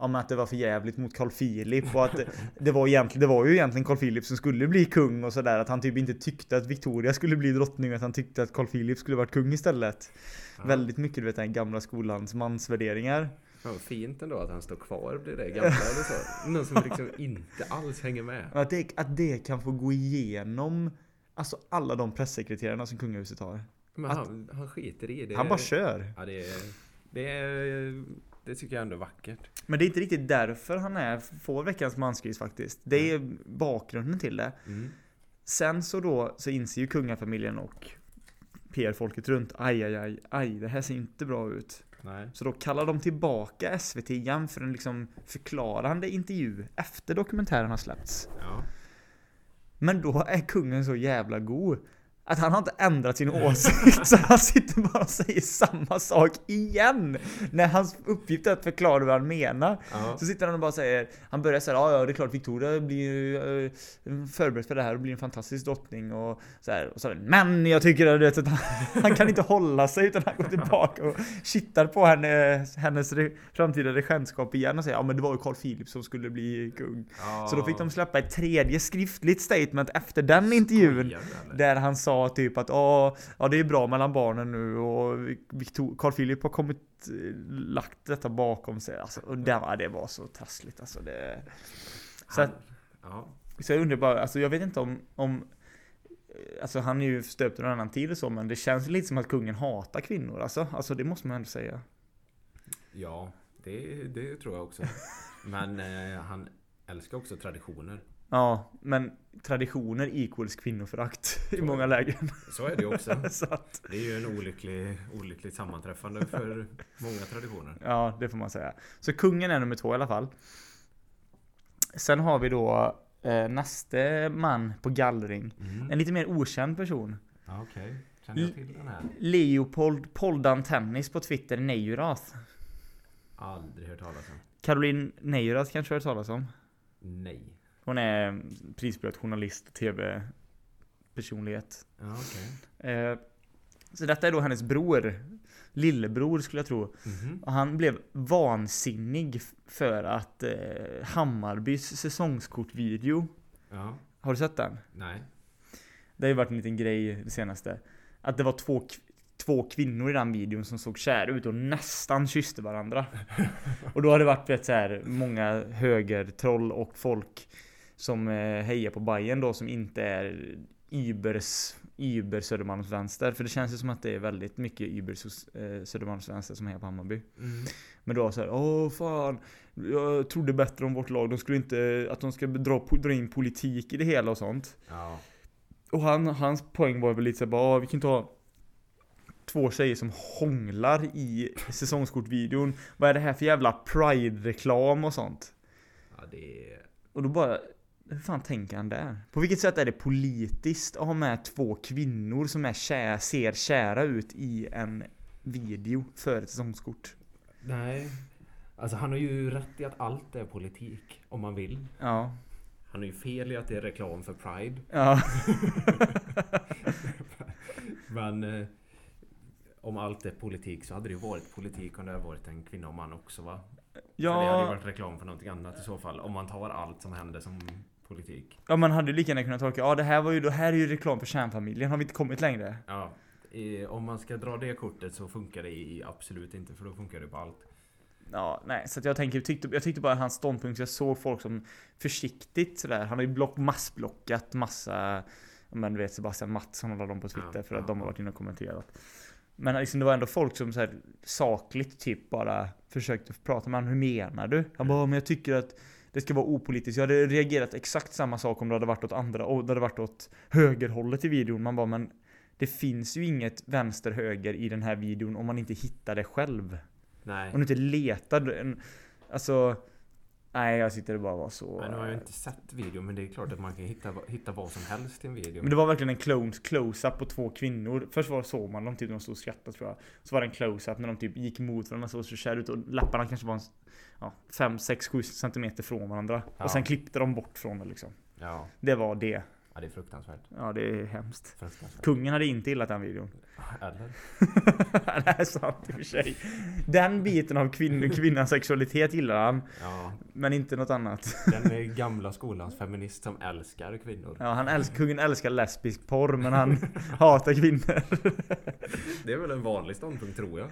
Ja, men att det var för jävligt mot Carl Philip och att eh, det var, egentligen, det var ju egentligen Carl Philip som skulle bli kung och sådär. Att han typ inte tyckte att Victoria skulle bli drottning utan han tyckte att Carl Philip skulle varit kung istället. Väldigt mycket du vet den gamla skolans mansvärderingar.
Fan vad fint ändå att han står kvar vid det gamla eller så. Någon som liksom inte alls hänger med.
Att det, att det kan få gå igenom alltså alla de pressekreterarna som kungahuset har.
Men
Att-
han, han skiter i det.
Han bara kör.
Ja, det, är- det, är- det tycker jag ändå är vackert.
Men det är inte riktigt därför han är, får veckans manskris faktiskt. Det är bakgrunden till det.
Mm.
Sen så då så inser ju kungafamiljen och PR-folket runt. Aj, aj, aj, aj, det här ser inte bra ut.
Nej.
Så då kallar de tillbaka SVT igen för en liksom förklarande intervju efter dokumentären har släppts.
Ja.
Men då är kungen så jävla god att han har inte ändrat sin åsikt så han sitter bara och säger samma sak igen! När hans uppgift är att förklara vad han menar.
Ja.
Så sitter han och bara säger, han börjar säga ja ja det är klart Victoria blir eh, förberedd för det här och blir en fantastisk drottning och så här. Och så, men jag tycker att, du vet, att han, han kan inte hålla sig utan han går tillbaka och kittar på henne, hennes re, framtida regentskap igen och säger ja men det var ju Carl Philip som skulle bli kung. Så då fick de släppa ett tredje skriftligt statement efter den intervjun.
Skojar du, eller?
Där han sa typ att "Åh, ja, det är bra mellan barnen nu och Victor- Carl Philip har kommit eh, lagt detta bakom sig. Alltså, och det, var, det var så trassligt alltså. Det... Så, att,
Ja.
så jag undrar bara, alltså, jag vet inte om, om Alltså han är ju stöpt ur en annan tid och så men det känns lite som att kungen hatar kvinnor alltså. Alltså det måste man ändå säga.
Ja, det, det tror jag också. Men eh, han älskar också traditioner.
Ja, men traditioner equals kvinnoförakt i många lägen.
Så är det ju också.
Så att,
Det är ju en olycklig, olyckligt sammanträffande för många traditioner.
ja, det får man säga. Så kungen är nummer två i alla fall. Sen har vi då eh, nästa man på gallring. En lite mer okänd person.
Ja, okej. Känner jag till den här?
Leopold Poldan Tennis på Twitter Neurath.
Aldrig hört talas om.
Caroline Neurath kanske du har hört talas om?
Nej.
Hon är prisbelönt journalist, tv-personlighet.
Ja, okej.
Eh, så detta är då hennes bror. Lillebror skulle jag tro.
Mhm.
Och han blev vansinnig f- för att eh, Hammarbys säsongskortvideo.
Ja.
Har du sett den?
Nej.
Det har ju varit en liten grej det senaste. Att det var två, kv- två kvinnor i den videon som såg kära ut och nästan kysste varandra. Och då har det varit vet, så här, många högertroll och folk som eh, hejar på Bayern då som inte är Ubers Uber Södermalmsvänster. För det känns ju som att det är väldigt mycket Uber eh, Södermalmsvänster som hejar på Hammarby. Men då så här, åh fan. Jag trodde bättre om vårt lag. De skulle inte, att de ska dra, dra in politik i det hela och sånt.
Ja.
Och han, hans poäng var väl lite såhär bara, "Ah, vi kan inte ha två tjejer som hånglar i säsongskortvideon. Vad är det här för jävla pride-reklam och sånt?
Ja, det är...
Och då bara, hur fan tänker han där? På vilket sätt är det politiskt att ha med två kvinnor som är kä- ser kära ut i en video för ett säsongskort?
Nej. Alltså han har ju rätt i att allt är politik. Om man vill.
Ja.
Han har ju fel i att det är reklam för Pride.
Ja.
Men eh, om allt är politik så hade det ju varit politik om det hade varit en kvinna och man också va? För det hade ju
Ja,
varit reklam för någonting annat i så fall. Om man tar allt som händer som politik.
ja man hade ju lika gärna kunnat tolka, ja det här var ju, det här är ju reklam för kärnfamiljen, har vi inte kommit längre?
Ja. Eh, om man ska dra det kortet så funkar det i absolut inte för då funkar det på allt.
Ja, nej, så att jag, tänker, tyckte, jag tyckte bara hans ståndpunkt, jag såg folk som försiktigt sådär. Han har ju block, massblockat massa, ja, men du vet Sebastian Mattsson och alla dem på Twitter
Ja,
för att
ja,
de har varit inne och kommenterat. Men liksom, det var ändå folk som så här, sakligt typ bara försökte prata med honom. Hur menar du?
Mm.
Han bara, men jag tycker att det ska vara opolitiskt. Jag hade reagerat exakt samma sak om det hade varit åt andra, och det hade varit åt högerhållet i videon. Man bara, men det finns ju inget vänster-höger i den här videon om man inte hittar det själv.
Nej.
Om du inte letar. du- en- Alltså. Nej, jag sitter och bara var så.
Men nu har jag inte sett videon men det är klart att man kan hitta, va- hitta vad som helst i en video.
Men det var verkligen en close- close-up på två kvinnor. Först var såg man dem typ när de stod och skrattade tror jag. Så var det en close-up när de typ gick mot varandra så så kära ut och läpparna kanske var en, ja, 5, 6, 7 centimeter från varandra.
Ja.
Och sen klippte de bort från det liksom.
Ja.
Det var det.
ja, det är fruktansvärt.
Ja, det är hemskt.
Fruktansvärt.
Kungen hade inte gillat den videon.
Eller?
det är sant i och för sig. Den biten av kvinn- kvinnans sexualitet gillar han.
Ja.
Men inte något annat.
Den är gamla skolans feminist som älskar kvinnor.
Ja, han älskar, kungen älskar lesbisk porr men han hatar kvinnor.
Det är väl en vanlig ståndpunkt tror jag.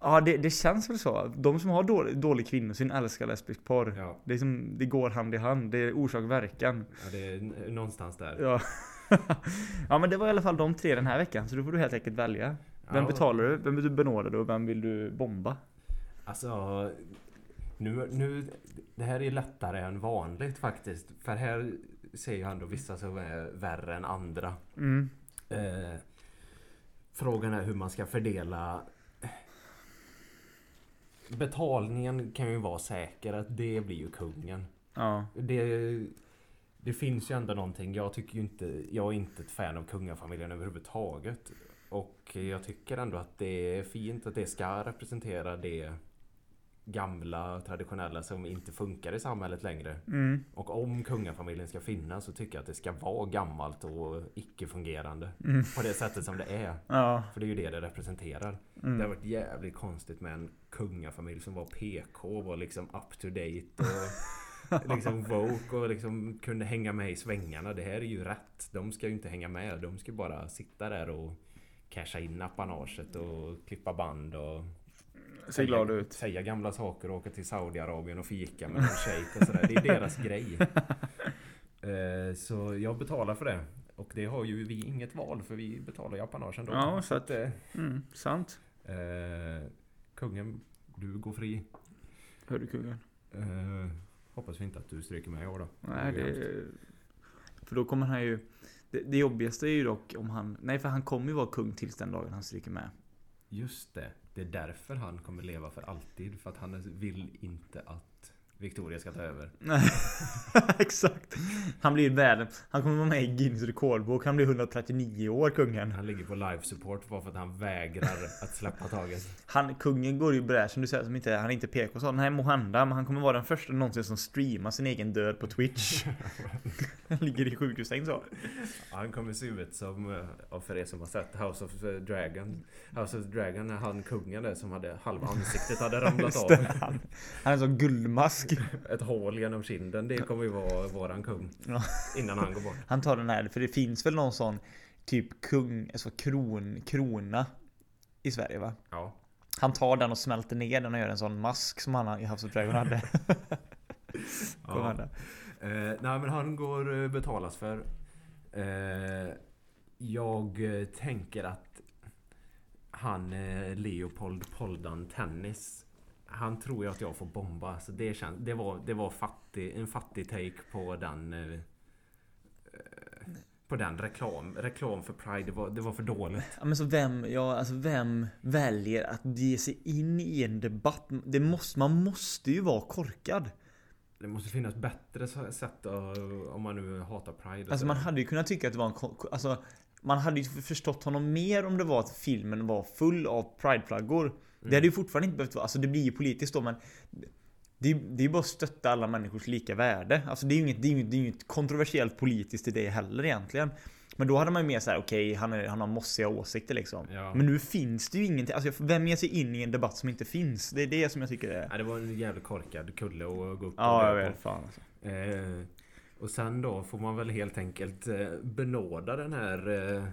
Ja, det, det känns väl så. De som har dålig, dålig kvinnosyn älskar lesbisk porr.
Ja.
Det, är som, det går hand i hand. Det är orsak verkan.
Ja, det är n- någonstans där.
Ja. ja, men det var i alla fall de tre den här veckan. Så då får du helt enkelt välja. Vem
Ja.
betalar du? Vem vill du benåda och vem vill du bomba?
Alltså, nu, nu... Det här är lättare än vanligt faktiskt. För här ser jag ändå vissa som är värre än andra.
Mm.
Eh, Frågan är hur man ska fördela... Betalningen kan ju vara säker att det blir ju kungen.
Ja.
Det, det finns ju ändå någonting. Jag tycker ju inte... Jag är inte ett fan av kungafamiljen överhuvudtaget. Och jag tycker ändå att det är fint att det ska representera det gamla traditionella som inte funkar i samhället längre.
Mm.
Och om kungafamiljen ska finnas så tycker jag att det ska vara gammalt och icke-fungerande. På det sättet som det är.
Mm. Ja. Mm.
För det är ju det det representerar. Det har varit jävligt konstigt med en kungafamilj som var PK och var liksom up to date och liksom woke och liksom kunde hänga med i svängarna. Det här är ju rätt. De ska ju inte hänga med. De ska bara sitta där och casha in apanaget och klippa band och
Ser glad ut.
säga gamla saker och åka till Saudiarabien och fika med någon shejk och sådär. Det är deras grej. Eh, Så jag betalar för det. Och det har ju vi inget val för vi betalar ju apanage ändå.
Ja, så att-
eh,
Mm, sant.
eh, kungen, du går fri.
Hör du kungen?
Eh, hoppas vi inte att du stryker med i år då.
Nej, det... För då kommer han ju... Det, det jobbigaste är ju dock om han... Nej, för han kommer ju vara kung tills den dagen han stryker med.
Just det. Det är därför han kommer leva för alltid. För att han vill inte att Victoria ska ta över.
Nej, exakt. Han blir världens... Han kommer vara med i Guinness rekordbok. Han blir 139 år, kungen.
Han ligger på live support bara för att han vägrar att släppa taget.
Han, kungen går ju i bräschen, du säger som inte, han är inte PK så. Nej, måhända, men han kommer vara den första någonsin som streamar sin egen död på Twitch. han ligger i sjukhussäng så.
Han kommer se ut som, eh, ja, för er som har sett House of eh, Dragon. House of Dragon när han kungen där som hade halva ansiktet hade ramlat
Just
av.
det, han, han är som guldmask.
Ett hål genom kinden. Det kommer ju vara våran kung.
Ja.
Innan han går bort.
Han tar den här, för det finns väl någon sån typ kung, alltså kron, krona i Sverige va?
Ja.
Han tar den och smälter ner den och gör en sån mask som han i House of Dragon hade. Kom
Ja.
han där.
Eh, nej men han går eh, betalas för. Eh, jag eh, tänker att han eh, Leopold Poldan Tennis. Han tror ju att jag får bomba. Så det, känns, det var, det var fattig, en fattig take på den eh, eh, på den reklam. Reklam för Pride. Det var, det var för dåligt.
Ja, men så vem, ja, alltså vem väljer att ge sig in i en debatt? Det måste, man måste ju vara korkad.
Det måste finnas bättre så- sätt att, om man nu hatar Pride. och
Alltså man
sådär.
hade ju kunnat tycka att det var en ko- ko- alltså, Man hade ju förstått honom mer om det var att filmen var full av prideflaggor. Det
Mm.
hade ju fortfarande inte behövt vara, alltså det blir ju politiskt då men det, det är ju bara att stötta alla människors lika värde. Alltså det är ju inget, det är ju, det är ju inget kontroversiellt politiskt i det heller egentligen. Men då hade man ju mer såhär, okej han, är- han har mossiga åsikter liksom.
Ja.
Men nu finns det ju ingenting. Alltså jag- vem ger sig in i en debatt som inte finns? Det är det som jag tycker är...
Nej, det var en jävligt korkad kulle att gå upp och
Ja, jag
dö på.
vet. Fan alltså.
Eh, och sen då får man väl helt enkelt eh, benåda den här eh,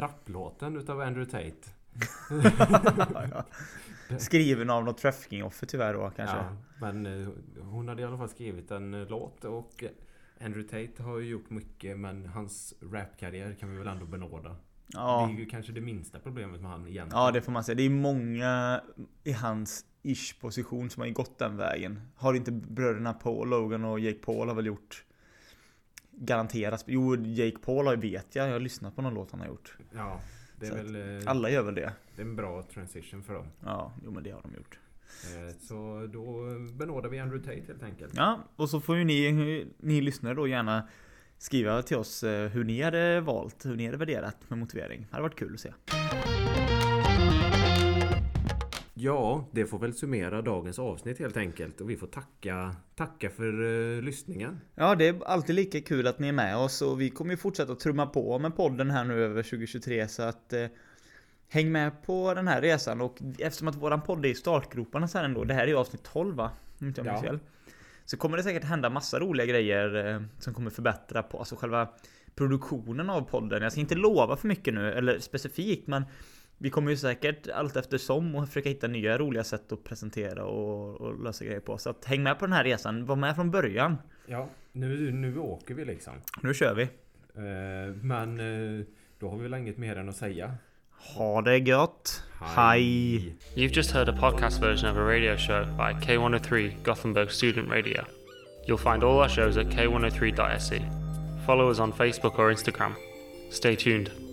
rapplåten utav Andrew Tate.
Skriven av något trafficking-offer tyvärr då kanske.
Ja, men eh, hon hade i alla fall skrivit en eh, låt och eh, Andrew Tate har ju gjort mycket men hans rapkarriär kan vi väl ändå benåda.
Ja.
Det är ju kanske det minsta problemet med han egentligen.
Ja, det får man säga. Det är många i hans ish position som har gått den vägen. Har inte bröderna Paul, Logan och Jake Paul har väl gjort Garanterat. Jo, Jake Paul har vet jag. Jag har lyssnat på någon låt han har gjort.
Ja, det är
Så
väl eh,
Alla gör väl det.
det är en bra transition för dem.
Ja, jo men det har de gjort.
Eh, så då eh, benådar vi Andrew Tate helt enkelt.
Ja, och så får ju ni, ni lyssnare då gärna skriva till oss eh, hur ni hade valt, hur ni hade värderat med motivering. Det hade varit kul att se.
Ja, det får väl summera dagens avsnitt helt enkelt. Och vi får tacka, tacka för eh, lyssningen.
Ja, det är alltid lika kul att ni är med oss och vi kommer ju fortsätta att trumma på med podden här nu över 2023 så att eh, Häng med på den här resan och eftersom att våran podd är i startgroparna så här ändå, det här är ju avsnitt 12 va? Om inte jag minns
Ja.
fel. Så kommer det säkert hända massa roliga grejer eh, som kommer förbättra på, alltså själva produktionen av podden. Jag ska inte lova för mycket nu, eller specifikt, men vi kommer ju säkert allt eftersom och försöka hitta nya roliga sätt att presentera och, och lösa grejer på. Så att häng med på den här resan, var med från början.
Ja, nu, nu åker vi liksom.
Nu kör vi!
Eh, men eh, då har vi väl inget mer än att säga.
Ha det gött! Hej.
You've just heard a podcast version of a radio show by K103 Gothenburg Student Radio. You'll find oh E. all our shows at k103.se. Follow us on Facebook or Instagram. Stay tuned.